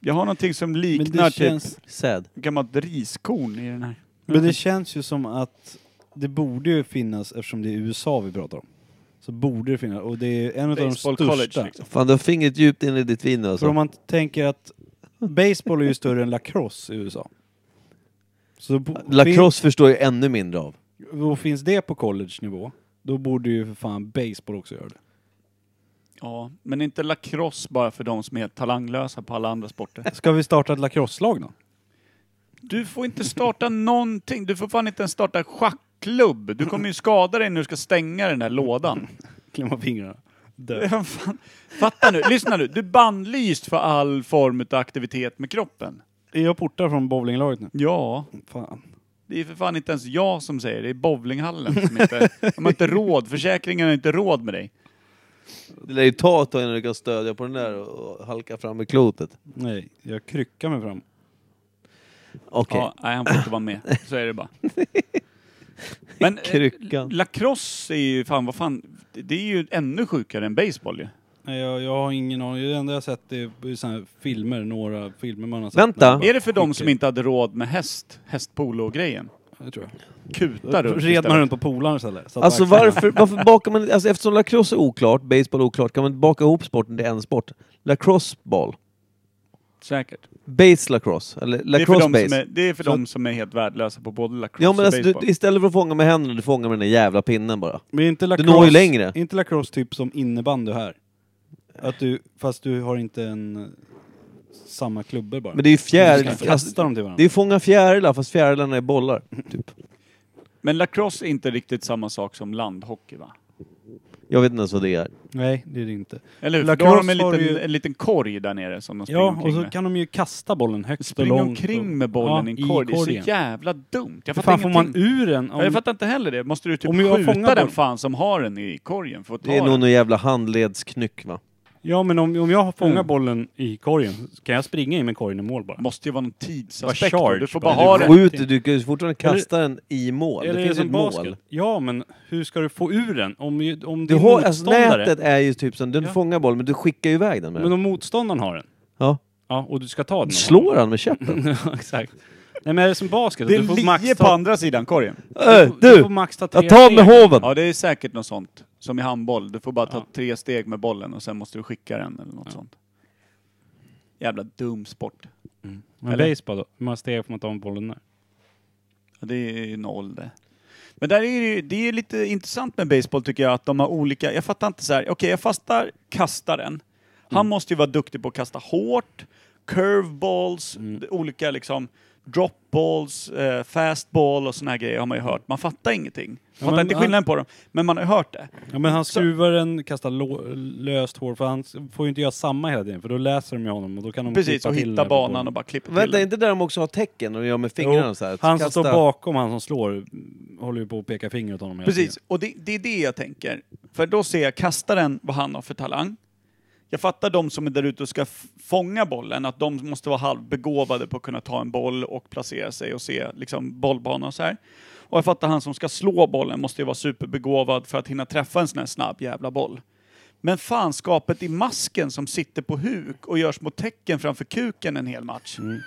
[SPEAKER 1] Jag har någonting som
[SPEAKER 2] Men
[SPEAKER 1] liknar
[SPEAKER 2] det,
[SPEAKER 1] typ
[SPEAKER 2] känns,
[SPEAKER 3] Sad.
[SPEAKER 1] gammalt riskorn i den här.
[SPEAKER 2] men det känns ju som att det borde ju finnas, eftersom det är USA vi pratar om, så borde det finnas. Och det är en av de
[SPEAKER 1] Baseball
[SPEAKER 2] största.
[SPEAKER 1] college liksom.
[SPEAKER 3] Fan, du har fingret djupt in i ditt vin nu
[SPEAKER 2] För om
[SPEAKER 3] alltså.
[SPEAKER 2] man tänker att baseball är ju större än lacrosse i USA. Så bo-
[SPEAKER 3] Lacrosse förstår jag ännu mindre av.
[SPEAKER 2] fin- och finns det på college-nivå, då borde ju för fan baseball också göra det.
[SPEAKER 1] Ja, men inte lacrosse bara för de som är talanglösa på alla andra sporter.
[SPEAKER 2] Ska vi starta ett lacrosse-lag då?
[SPEAKER 1] [LAUGHS] Du får inte starta någonting. Du får fan inte ens starta schackklubb. Du kommer ju skada dig när du ska stänga den här
[SPEAKER 2] [LAUGHS]
[SPEAKER 1] lådan.
[SPEAKER 2] Klämma fingrarna. Dö.
[SPEAKER 1] Vad fan? Fatta nu, lyssna nu. Du är bannlyst för all form av aktivitet med kroppen.
[SPEAKER 2] Är jag portar från bowlinglaget nu?
[SPEAKER 1] Ja,
[SPEAKER 2] Fan.
[SPEAKER 1] det är för fan inte ens jag som säger det. Det är bowlinghallen som inte... De har inte råd. Försäkringen har inte råd med dig.
[SPEAKER 3] Det lär ju ta ett tag innan du kan stödja på den där och och halka fram med klotet.
[SPEAKER 2] Nej, jag kryckar mig fram.
[SPEAKER 3] Okej.
[SPEAKER 1] Ja, nej, han får inte vara med. Så är det bara. Men eh,
[SPEAKER 3] Kryckan.
[SPEAKER 1] lacrosse är ju fan, vad fan, det är ju ännu sjukare än baseball ju.
[SPEAKER 2] Nej, jag, jag har ingen aning. Det enda jag har sett är såna här filmer, några filmer man har sett.
[SPEAKER 3] Vänta.
[SPEAKER 2] När jag bara
[SPEAKER 1] Är det för de
[SPEAKER 2] skickar-
[SPEAKER 1] som inte hade råd med häst, hästpolo-grejen?
[SPEAKER 2] det tror jag.
[SPEAKER 1] Kutar
[SPEAKER 2] Då
[SPEAKER 1] upp
[SPEAKER 2] red man
[SPEAKER 1] istället.
[SPEAKER 2] runt på polaren istället. Så att
[SPEAKER 3] Alltså
[SPEAKER 2] axlarna-
[SPEAKER 3] varför, varför bakar man... Alltså eftersom lacrosse är oklart, baseball är oklart, kan man inte baka ihop sporten till en sport? Lacrosse ball.
[SPEAKER 1] Säkert.
[SPEAKER 3] Base lacrosse. Eller
[SPEAKER 1] Det är för,
[SPEAKER 3] lacrosse
[SPEAKER 1] de som
[SPEAKER 3] base.
[SPEAKER 1] är, det är, för
[SPEAKER 3] Så-
[SPEAKER 1] de som är helt värdelösa på både lacrosse
[SPEAKER 3] Ja men alltså,
[SPEAKER 1] och
[SPEAKER 3] du,
[SPEAKER 1] baseball.
[SPEAKER 3] istället för att fånga med händerna, du fångar med den där jävla pinnen bara.
[SPEAKER 2] Men är inte lacrosse,
[SPEAKER 3] når ju längre.
[SPEAKER 2] är inte lacrosse typ som innebandy här? Att du, fast du har inte en... Samma klubbor bara.
[SPEAKER 3] Men det är ju
[SPEAKER 2] Du ska
[SPEAKER 3] fjäril...
[SPEAKER 2] kasta
[SPEAKER 3] Alltså,
[SPEAKER 2] dem till
[SPEAKER 3] det
[SPEAKER 2] varandra.
[SPEAKER 3] är fånga fjärilar, fast fjärilarna är bollar. Typ.
[SPEAKER 1] Men lacrosse är inte riktigt samma sak som landhockey va?
[SPEAKER 3] Jag vet inte ens vad det är.
[SPEAKER 2] Nej, det är det inte.
[SPEAKER 1] Eller hur? För då
[SPEAKER 2] Lacrosse
[SPEAKER 1] har de en
[SPEAKER 2] har
[SPEAKER 1] liten,
[SPEAKER 2] ju-
[SPEAKER 1] en liten korg där nere som de springer
[SPEAKER 2] Ja, och
[SPEAKER 1] omkring
[SPEAKER 2] så
[SPEAKER 1] med.
[SPEAKER 2] kan de ju kasta bollen högt och
[SPEAKER 1] Springa
[SPEAKER 2] långt.
[SPEAKER 1] omkring
[SPEAKER 2] och-
[SPEAKER 1] med bollen
[SPEAKER 2] Ja,
[SPEAKER 1] i en korg. Det är
[SPEAKER 2] korgen.
[SPEAKER 1] så jävla dumt. Jag fattar
[SPEAKER 2] Hur fan får
[SPEAKER 1] ingenting.
[SPEAKER 2] man ur den?
[SPEAKER 1] Ja, Jag fattar inte heller det. Måste du typ
[SPEAKER 2] Om jag
[SPEAKER 1] skjuta
[SPEAKER 2] fångar
[SPEAKER 1] den
[SPEAKER 2] boll-
[SPEAKER 1] fan som har den i korgen för att ta
[SPEAKER 3] Det är nog
[SPEAKER 1] den?
[SPEAKER 3] någon jävla handledsknyck va?
[SPEAKER 2] Ja, men om, om jag fångar
[SPEAKER 1] Mm.
[SPEAKER 2] bollen i korgen, kan jag springa in med korgen i mål bara?
[SPEAKER 1] måste ju vara någon
[SPEAKER 6] Bara
[SPEAKER 1] tidsaspekt.
[SPEAKER 6] charge
[SPEAKER 1] Du får bara
[SPEAKER 6] bara.
[SPEAKER 1] ha den.
[SPEAKER 3] Skjut, du kan ju fortfarande kasta den i mål. det finns ju ett mål.
[SPEAKER 2] Ja, men hur ska du få ur den? Om, ju- om
[SPEAKER 3] Du
[SPEAKER 2] din
[SPEAKER 3] har, alltså,
[SPEAKER 2] motståndare...
[SPEAKER 3] nätet är ju typ som, den
[SPEAKER 2] Ja.
[SPEAKER 3] fångar bollen men du skickar ju iväg den med
[SPEAKER 2] Men
[SPEAKER 3] den.
[SPEAKER 2] om motståndaren har den?
[SPEAKER 3] Ja.
[SPEAKER 2] Ja, och du ska ta den?
[SPEAKER 3] Slår han med [LAUGHS] käppen?
[SPEAKER 2] [LAUGHS] Ja, Exakt. Nej men är det som basket?
[SPEAKER 1] Det
[SPEAKER 2] du
[SPEAKER 1] är
[SPEAKER 2] får max
[SPEAKER 1] lie på
[SPEAKER 2] ta,
[SPEAKER 1] andra sidan korgen.
[SPEAKER 3] Ö,
[SPEAKER 2] du, får
[SPEAKER 3] Äh, du!
[SPEAKER 2] max ta tre
[SPEAKER 3] Jag tar med
[SPEAKER 2] steg.
[SPEAKER 3] hoven!
[SPEAKER 1] Ja, det är säkert något sånt. Som i handboll. Du får bara ta
[SPEAKER 2] Ja.
[SPEAKER 1] tre steg med bollen och sen måste du skicka den eller något sånt. Jävla dum sport.
[SPEAKER 2] Men
[SPEAKER 1] Eller?
[SPEAKER 2] baseball då? Hur många steg får man ta med bollen där?
[SPEAKER 1] Ja, det är ju noll det. Men där är det, ju, det är ju lite intressant med baseball tycker jag, att de har olika... Jag fattar inte så här. okej jag fastar kastaren. Han
[SPEAKER 2] Mm.
[SPEAKER 1] måste ju vara duktig på att kasta hårt, curveballs,
[SPEAKER 2] Mm.
[SPEAKER 1] d- olika liksom dropballs, eh, fastball och såna här grejer har man ju hört. Man fattar ingenting. Fattar
[SPEAKER 2] men
[SPEAKER 1] inte
[SPEAKER 2] han-
[SPEAKER 1] skillnaden på dem, men man har ju hört det.
[SPEAKER 2] Ja men han skruvar den, kastar lo- löst hår, för han s- får ju inte göra samma hela tiden för då läser de ju honom och då kan de
[SPEAKER 1] Precis,
[SPEAKER 2] klippa
[SPEAKER 1] och
[SPEAKER 2] till
[SPEAKER 1] hitta
[SPEAKER 2] där på
[SPEAKER 1] banan
[SPEAKER 2] bollen.
[SPEAKER 1] och bara klippa till
[SPEAKER 3] Vänta, är
[SPEAKER 1] den.
[SPEAKER 3] inte där de också har tecken och gör med
[SPEAKER 2] Jo,
[SPEAKER 3] fingrarna så här?
[SPEAKER 2] Han som
[SPEAKER 3] Kasta-
[SPEAKER 2] står bakom, han som slår, mm, håller ju på att peka finger åt honom hela
[SPEAKER 1] Precis,
[SPEAKER 2] tiden.
[SPEAKER 1] och det, det är det jag tänker. För då ser jag kastaren, vad han har för talang. Jag fattar de som är där ute och ska f- fånga bollen, att de måste vara halvbegåvade på att kunna ta en boll och placera sig och se liksom, bollbana och så här. Och jag fattar han som ska slå bollen måste ju vara superbegåvad för att hinna träffa en sån här snabb jävla boll. Men fanskapet i masken som sitter på huk och gör små tecken framför kuken en hel match.
[SPEAKER 2] Mm.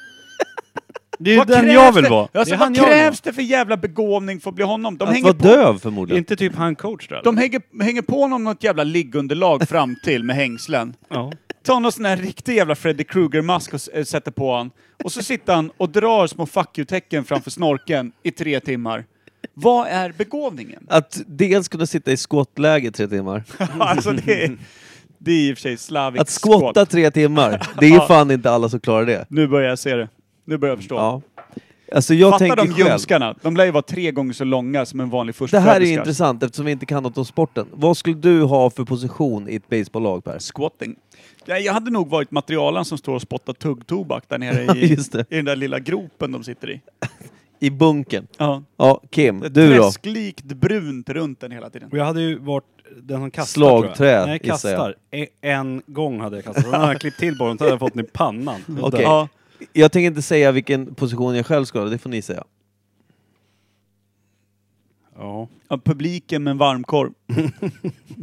[SPEAKER 2] Det är ju
[SPEAKER 1] Vad
[SPEAKER 2] den
[SPEAKER 1] krävs
[SPEAKER 2] jag vill
[SPEAKER 1] det-
[SPEAKER 2] vara!
[SPEAKER 1] Alltså,
[SPEAKER 2] det är han
[SPEAKER 1] vad
[SPEAKER 2] jag vill
[SPEAKER 1] krävs det för jävla begåvning för att bli honom? De
[SPEAKER 3] Att
[SPEAKER 1] hänger
[SPEAKER 3] vara
[SPEAKER 1] på
[SPEAKER 3] döv
[SPEAKER 2] vara.
[SPEAKER 3] förmodligen.
[SPEAKER 2] Inte typ han coach där?
[SPEAKER 1] de hänger, hänger på honom något jävla liggunderlag fram till med hängslen.
[SPEAKER 2] Ja.
[SPEAKER 1] Tar någon sån här riktig jävla Freddy Krueger-mask och s- eh, sätter på han. Och så sitter han och drar små fuck you-tecken framför snorken i tre timmar. Vad är
[SPEAKER 3] [LAUGHS]
[SPEAKER 1] begåvningen?
[SPEAKER 3] Att dels kunna sitta i skottläge i
[SPEAKER 2] [LAUGHS]
[SPEAKER 3] tre timmar.
[SPEAKER 1] alltså det är, det är i och för sig slaviskt
[SPEAKER 3] Att skotta tre timmar, det är fan inte alla som klarar det.
[SPEAKER 1] Nu börjar jag se det. Nu börjar jag förstå.
[SPEAKER 3] Ja. Alltså jag
[SPEAKER 1] Fattar
[SPEAKER 3] tänker
[SPEAKER 1] de
[SPEAKER 3] själv.
[SPEAKER 1] ljumskarna? De lär ju vara tre gånger så långa som en vanlig
[SPEAKER 3] Det
[SPEAKER 1] förstföderska.
[SPEAKER 3] här är ju intressant eftersom vi inte kan något om sporten. Vad skulle du ha för position i ett baseballlag Per?
[SPEAKER 1] Squatting. Nej, Jag hade nog varit materialen som står och spottar tuggtobak där
[SPEAKER 3] [LAUGHS]
[SPEAKER 1] nere i,
[SPEAKER 3] Just det.
[SPEAKER 1] i den där lilla gropen de sitter i.
[SPEAKER 3] I bunken.
[SPEAKER 1] Ja.
[SPEAKER 3] Ja, Kim,
[SPEAKER 1] Ett
[SPEAKER 3] du då?
[SPEAKER 1] träsklikt brunt runt den hela tiden.
[SPEAKER 2] Och jag hade ju varit den som kastar
[SPEAKER 3] Slagträ,
[SPEAKER 2] tror jag. Nej,
[SPEAKER 3] gissar jag.
[SPEAKER 2] kastar. E- En gång hade jag kastat. Sen hade jag klippt till bollen, sen hade jag fått den i pannan.
[SPEAKER 3] Okej.
[SPEAKER 1] Ja,
[SPEAKER 3] Jag tänker inte säga vilken position jag själv skulle ha, det får ni säga.
[SPEAKER 2] Ja.
[SPEAKER 1] ja, publiken med en varmkorv.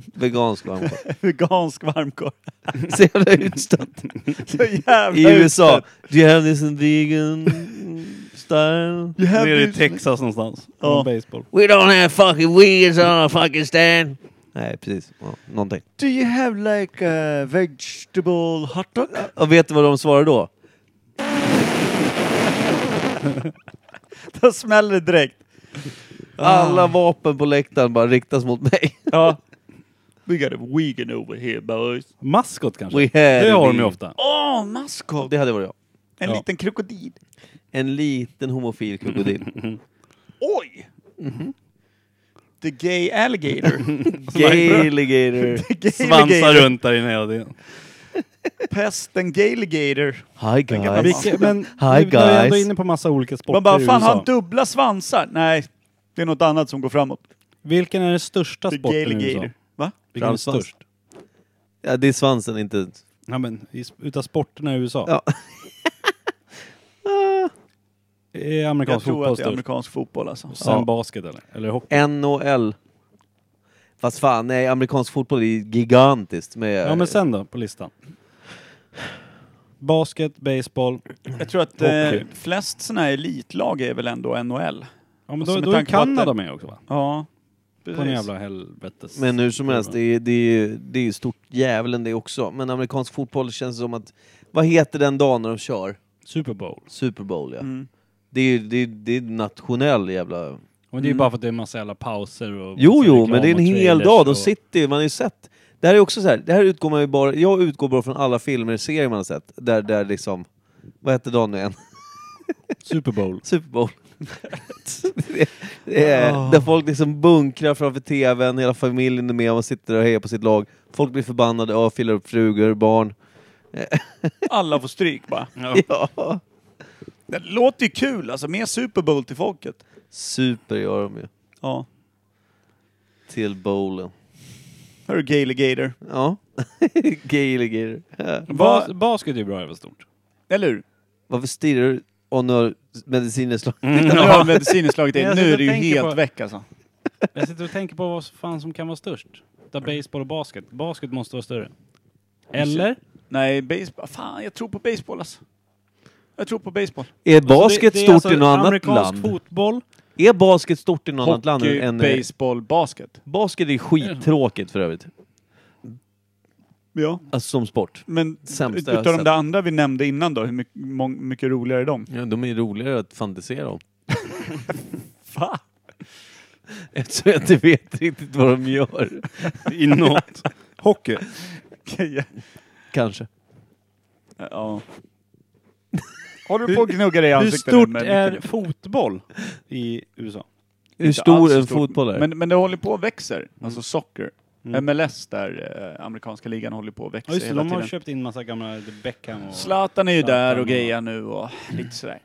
[SPEAKER 1] [LAUGHS]
[SPEAKER 3] Vegansk varmkorv.
[SPEAKER 1] Vegansk varmkorv. [LAUGHS]
[SPEAKER 3] Så jävla utstött.
[SPEAKER 1] Så jävla
[SPEAKER 3] I USA.
[SPEAKER 1] utspätt.
[SPEAKER 3] Do you have this in vegan style?
[SPEAKER 1] You have
[SPEAKER 2] Nere i
[SPEAKER 1] this-
[SPEAKER 2] Texas någonstans.
[SPEAKER 1] Ja.
[SPEAKER 2] Ja. Baseball.
[SPEAKER 3] We don't have fucking wheels on a fucking stand. Nej, precis. Ja, någonting.
[SPEAKER 1] Do you have like a vegetable hot dog? [LAUGHS]
[SPEAKER 3] Och vet du vad de svarar då?
[SPEAKER 1] Då smäller det direkt. Ah.
[SPEAKER 3] Alla vapen på läktaren bara riktas mot mig. [LAUGHS]
[SPEAKER 1] Ja. We got a vegan over here boys.
[SPEAKER 2] Maskot kanske?
[SPEAKER 3] We had
[SPEAKER 2] det har
[SPEAKER 3] a
[SPEAKER 2] de ju
[SPEAKER 3] deal.
[SPEAKER 2] ofta.
[SPEAKER 1] Åh, maskot!
[SPEAKER 3] Det hade varit jag.
[SPEAKER 1] En
[SPEAKER 2] Ja.
[SPEAKER 1] liten krokodil.
[SPEAKER 3] En liten
[SPEAKER 1] [LAUGHS]
[SPEAKER 3] homofil krokodil.
[SPEAKER 1] Oj!
[SPEAKER 2] Mhm.
[SPEAKER 1] The gay
[SPEAKER 2] [LAUGHS]
[SPEAKER 1] alligator.
[SPEAKER 3] Gayligator.
[SPEAKER 1] [LAUGHS] The gay
[SPEAKER 2] Svansar
[SPEAKER 1] alligator.
[SPEAKER 2] runt där inne hela tiden.
[SPEAKER 1] Pesten gayligator.
[SPEAKER 3] Hi
[SPEAKER 1] gamla
[SPEAKER 3] guys.
[SPEAKER 1] Vilket- men
[SPEAKER 3] Hi
[SPEAKER 2] Vi är ändå
[SPEAKER 3] guys.
[SPEAKER 2] inne på massa olika sporter
[SPEAKER 1] Man bara, fan har
[SPEAKER 2] i
[SPEAKER 1] han
[SPEAKER 2] USA.
[SPEAKER 1] dubbla svansar? Nej, det är något annat som går framåt.
[SPEAKER 2] Vilken är den största
[SPEAKER 1] The
[SPEAKER 2] sporten i USA?
[SPEAKER 1] gayligator. Va?
[SPEAKER 2] Vilken är
[SPEAKER 3] Framsvans.
[SPEAKER 2] störst?
[SPEAKER 3] Ja, det är svansen, inte...
[SPEAKER 2] Ja men, i- utav sporterna i USA.
[SPEAKER 3] Ja.
[SPEAKER 2] Är
[SPEAKER 1] Jag
[SPEAKER 2] amerikansk
[SPEAKER 1] tror
[SPEAKER 2] fotboll
[SPEAKER 1] att det är
[SPEAKER 2] störst?
[SPEAKER 1] amerikansk fotboll alltså.
[SPEAKER 2] Sen
[SPEAKER 3] Ja.
[SPEAKER 2] basket eller? Eller hockey?
[SPEAKER 3] NHL. Fast fan, nej, amerikansk fotboll är gigantiskt med...
[SPEAKER 2] Ja men sen då, på listan? Basket, baseball.
[SPEAKER 1] Jag tror att eh,
[SPEAKER 2] Hockey.
[SPEAKER 1] flest sådana här elitlag är väl ändå NHL.
[SPEAKER 2] Ja, men
[SPEAKER 1] Alltså,
[SPEAKER 2] då,
[SPEAKER 1] med
[SPEAKER 2] då är
[SPEAKER 1] tanke på att
[SPEAKER 2] Kanada
[SPEAKER 1] det-
[SPEAKER 2] med också va?
[SPEAKER 1] Ja,
[SPEAKER 2] På en
[SPEAKER 1] precis.
[SPEAKER 2] jävla helvetes...
[SPEAKER 3] Men hur som helst, det är, det är, det är stort djävulen det också. Men amerikansk fotboll känns som att... Vad heter den dagen när de kör?
[SPEAKER 2] Super Bowl.
[SPEAKER 3] Super Bowl, ja.
[SPEAKER 1] Mm.
[SPEAKER 3] Det är ju det är, det är nationell jävla...
[SPEAKER 2] Och
[SPEAKER 1] Mm.
[SPEAKER 2] det är bara för att det är massa jävla pauser och...
[SPEAKER 3] Jo,
[SPEAKER 2] massa
[SPEAKER 3] jo,
[SPEAKER 2] reklam
[SPEAKER 3] men det är en
[SPEAKER 2] och
[SPEAKER 3] hel
[SPEAKER 2] trailers
[SPEAKER 3] dag. De
[SPEAKER 2] och-
[SPEAKER 3] sitter man har ju sett. Det här är också så här, det här utgår man ju bara... Jag utgår bara från alla filmer och serier man har sett. Där, där liksom... Vad hette dagen nu igen?
[SPEAKER 2] Super Bowl.
[SPEAKER 3] Super Bowl. det, det är,
[SPEAKER 2] [LAUGHS]
[SPEAKER 3] Där folk liksom bunkrar framför TVn, hela familjen är med, man sitter och hejar på sitt lag. Folk blir förbannade, ja, filar upp frugor, barn.
[SPEAKER 1] Alla får stryk
[SPEAKER 2] [LAUGHS]
[SPEAKER 1] bara.
[SPEAKER 3] Ja.
[SPEAKER 1] Det låter ju kul, alltså mer Super Bowl till folket.
[SPEAKER 3] Super gör de ju.
[SPEAKER 1] Ja.
[SPEAKER 3] Till bowlen.
[SPEAKER 1] Hörru Galegator.
[SPEAKER 3] Ja. [LAUGHS] Gaeliger.
[SPEAKER 1] Va-
[SPEAKER 2] Bas- basket är bra jävla stort.
[SPEAKER 1] Eller hur?
[SPEAKER 3] Varför stirrar du onör slag?
[SPEAKER 2] Mm.
[SPEAKER 1] Nu har medicinen slagit in.
[SPEAKER 2] Jag
[SPEAKER 1] Nu
[SPEAKER 2] sitter
[SPEAKER 1] är det ju
[SPEAKER 2] och tänker
[SPEAKER 1] helt
[SPEAKER 2] på-
[SPEAKER 1] väck alltså.
[SPEAKER 2] Jag sitter och tänker på vad fan som kan vara störst. Där baseball och basket. Basket måste vara större. Eller?
[SPEAKER 1] Nej, baseball. Fan, jag tror på baseball alltså. Jag tror på baseball.
[SPEAKER 3] Är basket
[SPEAKER 2] det, det är
[SPEAKER 3] stort
[SPEAKER 2] alltså
[SPEAKER 3] i något annat
[SPEAKER 2] amerikansk
[SPEAKER 3] land?
[SPEAKER 2] fotboll.
[SPEAKER 3] Är basket stort i något annat land?
[SPEAKER 1] Hockey,
[SPEAKER 3] Än, än,
[SPEAKER 1] baseball, basket.
[SPEAKER 3] basket är skittråkigt för övrigt.
[SPEAKER 1] Ja.
[SPEAKER 3] Alltså som sport.
[SPEAKER 1] Men
[SPEAKER 3] Sämsta
[SPEAKER 1] ut-
[SPEAKER 3] jag har
[SPEAKER 1] utav de
[SPEAKER 3] sett.
[SPEAKER 1] där andra vi nämnde innan då, hur mycket, mång, mycket roligare är de?
[SPEAKER 3] Ja, de är roligare att fantisera om.
[SPEAKER 1] [LAUGHS] Va?
[SPEAKER 3] Eftersom jag inte vet riktigt vad de gör.
[SPEAKER 2] I något. Hockey.
[SPEAKER 1] Okej,
[SPEAKER 3] Kanske.
[SPEAKER 1] ja. ja. Håller du på att gnugga dig i
[SPEAKER 2] Hur
[SPEAKER 1] ansiktet nu
[SPEAKER 2] stort
[SPEAKER 1] med
[SPEAKER 2] är
[SPEAKER 1] micken?
[SPEAKER 2] fotboll i USA?
[SPEAKER 3] Hur
[SPEAKER 1] Inte alls
[SPEAKER 3] stor
[SPEAKER 1] så
[SPEAKER 3] en
[SPEAKER 1] stort,
[SPEAKER 3] fotboll är?
[SPEAKER 1] Men, men det håller på att växer,
[SPEAKER 2] Mm.
[SPEAKER 1] alltså socker. MLS där, eh, amerikanska ligan, håller på att växa
[SPEAKER 2] Ja just det,
[SPEAKER 1] hela
[SPEAKER 2] de har
[SPEAKER 1] tiden.
[SPEAKER 2] köpt in massa gamla Beckham och...
[SPEAKER 1] Zlatan är ju
[SPEAKER 2] Zlatan
[SPEAKER 1] där och
[SPEAKER 2] och-
[SPEAKER 1] grejar nu och lite sådär.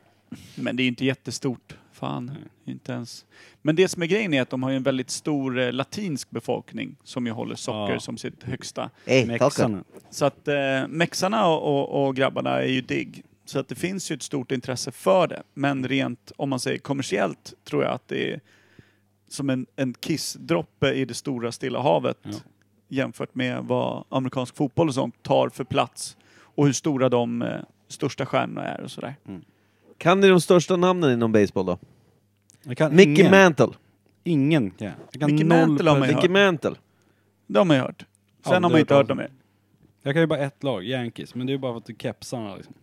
[SPEAKER 1] Men det är ju inte jättestort. Fan,
[SPEAKER 2] Mm.
[SPEAKER 1] inte ens. Men det som är grejen är att de har ju en väldigt stor eh, latinsk befolkning som ju håller socker
[SPEAKER 2] Ja.
[SPEAKER 1] som sitt högsta.
[SPEAKER 2] Mexarna.
[SPEAKER 1] Så att eh, mexarna och, och, och grabbarna är ju digg. Så att det finns ju ett stort intresse för det. Men rent, om man säger kommersiellt, tror jag att det är som en, en kissdroppe i det stora Stilla havet
[SPEAKER 2] Ja.
[SPEAKER 1] jämfört med vad amerikansk fotboll och sånt tar för plats och hur stora de eh, största stjärnorna är och sådär.
[SPEAKER 3] Kan ni de största namnen inom baseball då?
[SPEAKER 2] Jag kan
[SPEAKER 3] Mickey
[SPEAKER 2] ingen.
[SPEAKER 3] Mantle.
[SPEAKER 2] Ingen kan jag. jag. kan
[SPEAKER 1] Mickey
[SPEAKER 2] noll
[SPEAKER 1] Mantle har
[SPEAKER 2] per-
[SPEAKER 1] man ju
[SPEAKER 3] Mickey Mantle.
[SPEAKER 1] Det har man ju hört. Sen har
[SPEAKER 2] Aldrig
[SPEAKER 1] man ju inte
[SPEAKER 2] hört
[SPEAKER 1] hört dem mer.
[SPEAKER 2] Jag kan ju bara ett lag, Yankees. Men det är ju bara för att det är kepsarna liksom.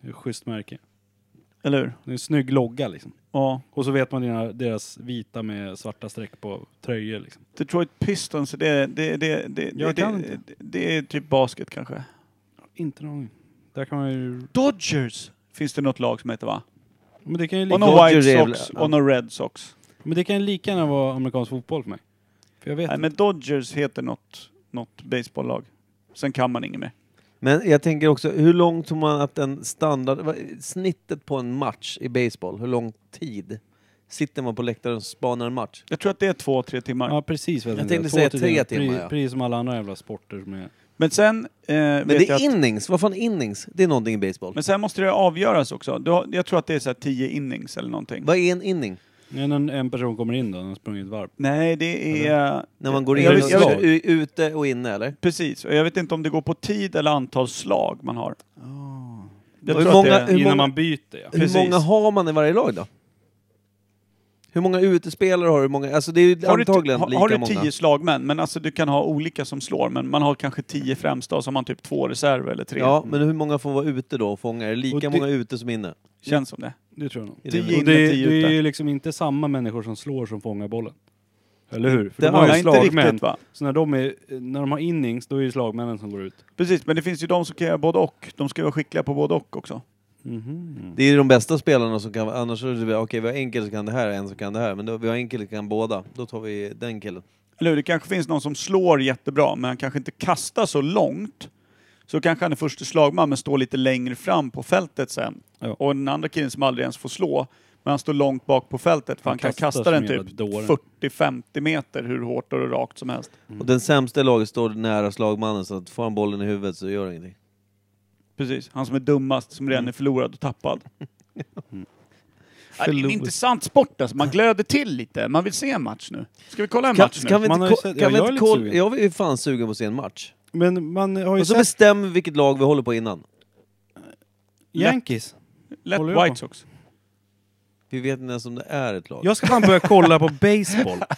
[SPEAKER 2] Det är ett schysst märke.
[SPEAKER 1] Eller hur?
[SPEAKER 2] Det är en snygg logga liksom.
[SPEAKER 1] Ja.
[SPEAKER 2] Och så vet man dina, deras vita med svarta streck på tröjor liksom.
[SPEAKER 1] Detroit Pistons, det, det, det, det, det,
[SPEAKER 2] Jag kan
[SPEAKER 1] det,
[SPEAKER 2] inte.
[SPEAKER 1] det, det är typ basket kanske.
[SPEAKER 2] Inte någon aning. Där kan man ju...
[SPEAKER 1] Dodgers finns det något lag som heter va?
[SPEAKER 2] Men det kan ju
[SPEAKER 1] Och
[SPEAKER 2] lika,
[SPEAKER 1] några
[SPEAKER 3] Dodgers
[SPEAKER 1] White
[SPEAKER 3] är väl-
[SPEAKER 1] Sox och några Red Sox.
[SPEAKER 2] men det kan ju lika gärna vara amerikansk fotboll för mig. För jag vet
[SPEAKER 1] Nej,
[SPEAKER 2] inte.
[SPEAKER 1] men Dodgers heter något, något baseballlag. Sen kan man inget mer.
[SPEAKER 3] Men jag tänker också, hur långt tror man att en standard... vad- Snittet på en match i baseball, hur lång tid sitter man på läktaren och spanar en match?
[SPEAKER 1] Jag tror att det är två, tre timmar.
[SPEAKER 2] Ja precis vad
[SPEAKER 3] Jag
[SPEAKER 2] tänkte
[SPEAKER 3] tänkte
[SPEAKER 2] Två
[SPEAKER 3] säga
[SPEAKER 2] till
[SPEAKER 3] tre
[SPEAKER 2] dina.
[SPEAKER 3] timmar,
[SPEAKER 2] Pre-
[SPEAKER 3] ja.
[SPEAKER 2] Precis som alla andra jävla sporter som är...
[SPEAKER 1] Men sen eh, vet
[SPEAKER 3] Men det
[SPEAKER 1] jag
[SPEAKER 3] är
[SPEAKER 1] att,
[SPEAKER 3] innings, vad fan innings? Det är någonting i baseball.
[SPEAKER 1] Men sen måste det avgöras också. Du har, jag tror att det är så här tio innings eller någonting.
[SPEAKER 3] Vad är en inning?
[SPEAKER 2] När en, en person kommer in då, den har sprungit ett varv.
[SPEAKER 1] Nej, det är...
[SPEAKER 3] När man går in
[SPEAKER 1] jag,
[SPEAKER 2] i
[SPEAKER 1] vet-
[SPEAKER 3] och
[SPEAKER 1] jag,
[SPEAKER 2] slag.
[SPEAKER 1] vet-
[SPEAKER 3] ut, ute och inne eller?
[SPEAKER 1] Precis, och jag vet inte om det går på tid eller antal slag man har. Jag
[SPEAKER 3] Ah. Och hur
[SPEAKER 1] tror att det
[SPEAKER 3] många-
[SPEAKER 1] är,
[SPEAKER 3] hur
[SPEAKER 2] Innan
[SPEAKER 3] många-
[SPEAKER 2] man byter ja.
[SPEAKER 1] Precis.
[SPEAKER 3] Hur många har man i varje lag då? Hur många utespelare har du? Hur många, alltså det är ju
[SPEAKER 1] har du,
[SPEAKER 3] antagligen
[SPEAKER 1] har,
[SPEAKER 3] lika
[SPEAKER 1] har du
[SPEAKER 3] många.
[SPEAKER 1] tio slagmän, men alltså du kan ha olika som slår, men man har kanske tio främsta och så har man typ två reserver eller tre.
[SPEAKER 3] Ja, men hur många får vara ute då och fånga? Är det lika
[SPEAKER 2] Och det-
[SPEAKER 3] många ute som inne?
[SPEAKER 1] Känns som det.
[SPEAKER 2] Det tror jag nog.
[SPEAKER 3] I
[SPEAKER 1] Tio
[SPEAKER 3] det-
[SPEAKER 2] Och
[SPEAKER 1] in
[SPEAKER 2] det,
[SPEAKER 1] och tio
[SPEAKER 2] det är
[SPEAKER 1] ute.
[SPEAKER 2] ju liksom inte samma människor som slår som fångar bollen. Eller hur? För
[SPEAKER 3] Det
[SPEAKER 2] de har
[SPEAKER 1] Nej,
[SPEAKER 2] ju
[SPEAKER 1] inte
[SPEAKER 2] slagmän.
[SPEAKER 1] riktigt va?
[SPEAKER 2] Så när de, är, när de har innings, då är det slagmännen som går ut.
[SPEAKER 1] Precis, men det finns ju de som kan göra både och. De ska vara skickliga på både och också.
[SPEAKER 2] Mm.
[SPEAKER 3] Det är ju de bästa spelarna som kan, annars är det okej vi har en kille som kan det här och en som kan det här, men då, vi har en kille som kan båda. Då tar vi den killen.
[SPEAKER 1] Eller hur? Det kanske finns någon som slår jättebra, men han kanske inte kastar så långt. Så kanske han är första slagman, men står lite längre fram på fältet sen.
[SPEAKER 2] Ja.
[SPEAKER 1] Och den andra killen som aldrig ens får slå, men han står långt bak på fältet, för han,
[SPEAKER 2] Han
[SPEAKER 1] kan
[SPEAKER 2] kastar
[SPEAKER 1] kasta
[SPEAKER 2] som
[SPEAKER 1] den
[SPEAKER 2] en jävla
[SPEAKER 1] typ
[SPEAKER 2] dåre.
[SPEAKER 1] 40-50 meter hur hårt och rakt som helst.
[SPEAKER 2] Mm.
[SPEAKER 3] Och den sämsta i laget står nära slagmannen så att får han bollen i huvudet så gör det ingenting.
[SPEAKER 1] Precis, han som är dummast, som
[SPEAKER 2] Mm.
[SPEAKER 1] redan är förlorad och
[SPEAKER 2] [LAUGHS]
[SPEAKER 1] tappad. Ja, Det är en
[SPEAKER 3] Förlorad.
[SPEAKER 1] intressant sport alltså. man glöder till lite. Man vill se en match nu. Ska vi kolla en
[SPEAKER 3] Kan,
[SPEAKER 1] match nu?
[SPEAKER 3] kan vi
[SPEAKER 2] Man
[SPEAKER 3] inte
[SPEAKER 2] har ju
[SPEAKER 3] ko-
[SPEAKER 2] sett-
[SPEAKER 3] kan
[SPEAKER 2] ja,
[SPEAKER 3] vi
[SPEAKER 2] jag är
[SPEAKER 3] inte
[SPEAKER 2] lite
[SPEAKER 3] kolla,
[SPEAKER 2] sugen.
[SPEAKER 3] jag är ju fan sugen på att se en match.
[SPEAKER 2] Men man har ju
[SPEAKER 3] Och så
[SPEAKER 2] sett
[SPEAKER 3] bestämmer vi vilket lag vi håller på innan.
[SPEAKER 2] Yankees.
[SPEAKER 1] Lätt
[SPEAKER 2] Håller jag
[SPEAKER 1] White
[SPEAKER 2] på.
[SPEAKER 1] Sox.
[SPEAKER 3] Vi vet inte ens om det är ett lag.
[SPEAKER 2] Jag ska fan börja kolla på baseball. [LAUGHS]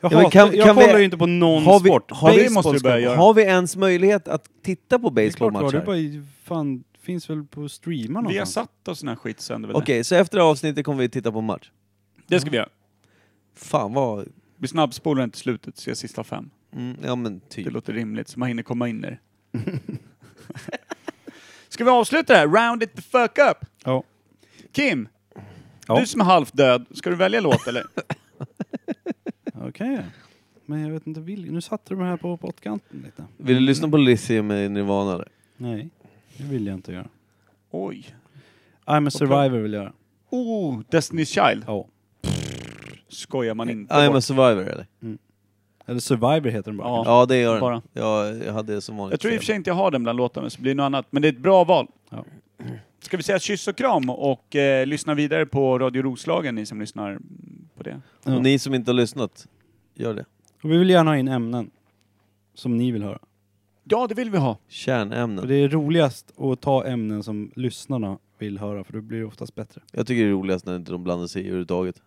[SPEAKER 2] Jag,
[SPEAKER 3] Ja, men
[SPEAKER 2] hatar,
[SPEAKER 3] kan-
[SPEAKER 2] jag
[SPEAKER 3] kan vi-
[SPEAKER 2] kollar ju inte på någon
[SPEAKER 3] har vi,
[SPEAKER 2] sport.
[SPEAKER 3] har,
[SPEAKER 1] Baseball måste vi börja
[SPEAKER 3] vi,
[SPEAKER 1] göra.
[SPEAKER 3] har vi ens möjlighet att titta på
[SPEAKER 2] Det är klart, du har. det är
[SPEAKER 3] baseballmatcher?
[SPEAKER 2] bara
[SPEAKER 3] Okej,
[SPEAKER 2] i- fan, finns väl på streamar
[SPEAKER 1] Vi har
[SPEAKER 2] någonstans?
[SPEAKER 1] satt och sån här skit sänder väl?
[SPEAKER 3] så efter det här avsnittet kommer vi titta på match.
[SPEAKER 1] Det ska vi göra.
[SPEAKER 3] Fan vad...
[SPEAKER 1] Vi snabbspolar den till slutet, ser sista fem.
[SPEAKER 3] Mm, ja men
[SPEAKER 1] Det
[SPEAKER 3] typ.
[SPEAKER 1] låter rimligt, så man hinner komma in i det. [LAUGHS] Ska vi avsluta det här? Round it the fuck up!
[SPEAKER 2] Ja.
[SPEAKER 1] Kim,
[SPEAKER 2] Ja.
[SPEAKER 1] du som är halvt död, ska du välja låt eller?
[SPEAKER 2] Okej. Men jag vet inte vilken. Nu satte du mig här på pottkanten lite.
[SPEAKER 3] Vill du lyssna på Lithium med Nirvana? eller?
[SPEAKER 2] Nej, det vill jag inte göra.
[SPEAKER 1] [LAUGHS] Oj.
[SPEAKER 2] I'm a survivor vill jag göra.
[SPEAKER 1] Oh, Destiny's Child.
[SPEAKER 2] Ja.
[SPEAKER 1] Skojar man inte
[SPEAKER 3] I'm a
[SPEAKER 1] bort.
[SPEAKER 3] survivor eller?
[SPEAKER 2] Eller survivor heter den bara.
[SPEAKER 1] Ja.
[SPEAKER 2] Ja.
[SPEAKER 3] Ja det gör
[SPEAKER 1] Bara.
[SPEAKER 3] den. Ja, jag hade som vanligt
[SPEAKER 1] Jag tror i och
[SPEAKER 3] fel.
[SPEAKER 1] för sig inte jag har den bland låtarna, så det blir något annat. Men det är ett bra val.
[SPEAKER 2] Ja.
[SPEAKER 1] Ska vi säga kyss och kram och eh, lyssna vidare på Radio Roslagen, ni som lyssnar mm, på det?
[SPEAKER 2] Ja.
[SPEAKER 3] Och ni som inte har lyssnat, gör det.
[SPEAKER 2] Och vi vill gärna ha in ämnen som ni vill höra.
[SPEAKER 1] Ja, det vill vi ha.
[SPEAKER 2] För
[SPEAKER 3] Kärnämnen.
[SPEAKER 2] det är roligast att ta ämnen som lyssnarna vill höra för då blir det oftast bättre.
[SPEAKER 3] Jag tycker det är roligast när inte de blandar sig i överhuvudtaget.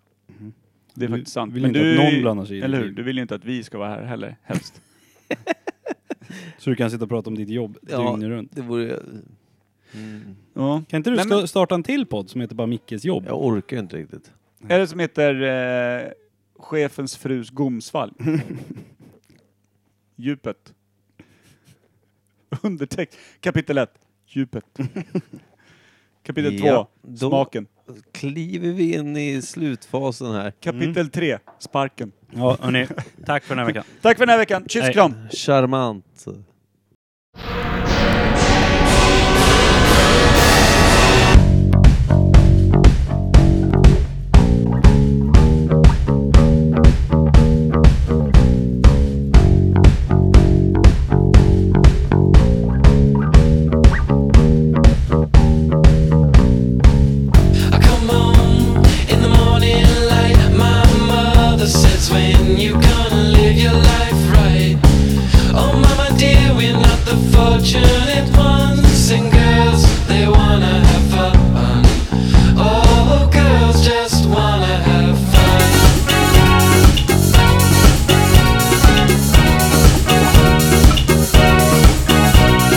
[SPEAKER 1] Det är
[SPEAKER 2] Du
[SPEAKER 1] faktiskt sant.
[SPEAKER 2] vill inte att någon blandar sig i det.
[SPEAKER 1] Eller hur? Du vill ju inte att vi ska vara här heller,
[SPEAKER 2] [LAUGHS]
[SPEAKER 1] helst.
[SPEAKER 2] Så du kan sitta och prata om ditt jobb
[SPEAKER 3] Ja.
[SPEAKER 2] dygnet runt.
[SPEAKER 3] Det vore... Mm.
[SPEAKER 1] ja.
[SPEAKER 2] Kan inte du
[SPEAKER 1] Nej,
[SPEAKER 2] sta-
[SPEAKER 1] men-
[SPEAKER 2] starta en till podd som heter bara Mickes jobb?
[SPEAKER 3] Jag orkar inte riktigt.
[SPEAKER 1] Eller som heter eh, Chefens frus
[SPEAKER 2] [LAUGHS]
[SPEAKER 1] gomsvalg. Djupet. Undertext. Kapitel 1.
[SPEAKER 2] [LAUGHS]
[SPEAKER 1] Djupet. Kapitel 2.
[SPEAKER 3] Ja, då-
[SPEAKER 2] Mm.
[SPEAKER 1] Smaken.
[SPEAKER 3] Kliver vi in i slutfasen här.
[SPEAKER 1] Kapitel 3. Sparken.
[SPEAKER 2] Ja, hörni. Tack för den här veckan.
[SPEAKER 1] Tack för den här veckan. Kyss och
[SPEAKER 2] Nej.
[SPEAKER 1] kram.
[SPEAKER 3] Charmant.
[SPEAKER 6] I come home in the morning light. My mother says, When you gonna live your life right? Oh, mama dear, we're not the fortunate ones. And girls, they wanna have fun. Oh, girls just wanna have fun.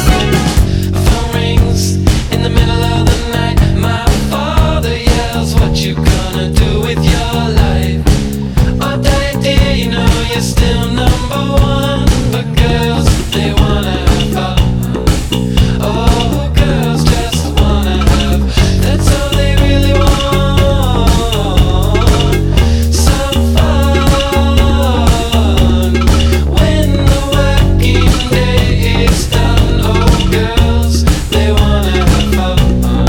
[SPEAKER 6] phone rings in the middle of the night. My father yells, What you gonna do with your life? Oh, daddy, dear, you know you're still number one. But girls, they wanna have fun. Oh, girls just wanna have. That's all they really want. Some fun. When the working day is done, oh, girls, they wanna have fun.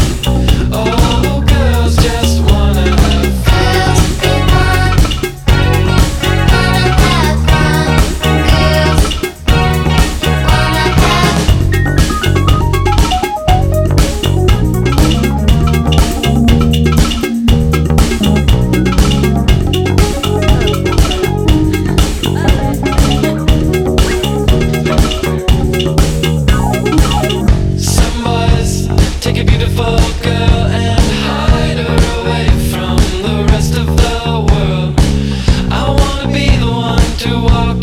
[SPEAKER 6] Oh, girls just wanna have fun. Some boys take a beautiful girl and hide her away from the rest of the world. I wanna be the one to walk Oh, Oh,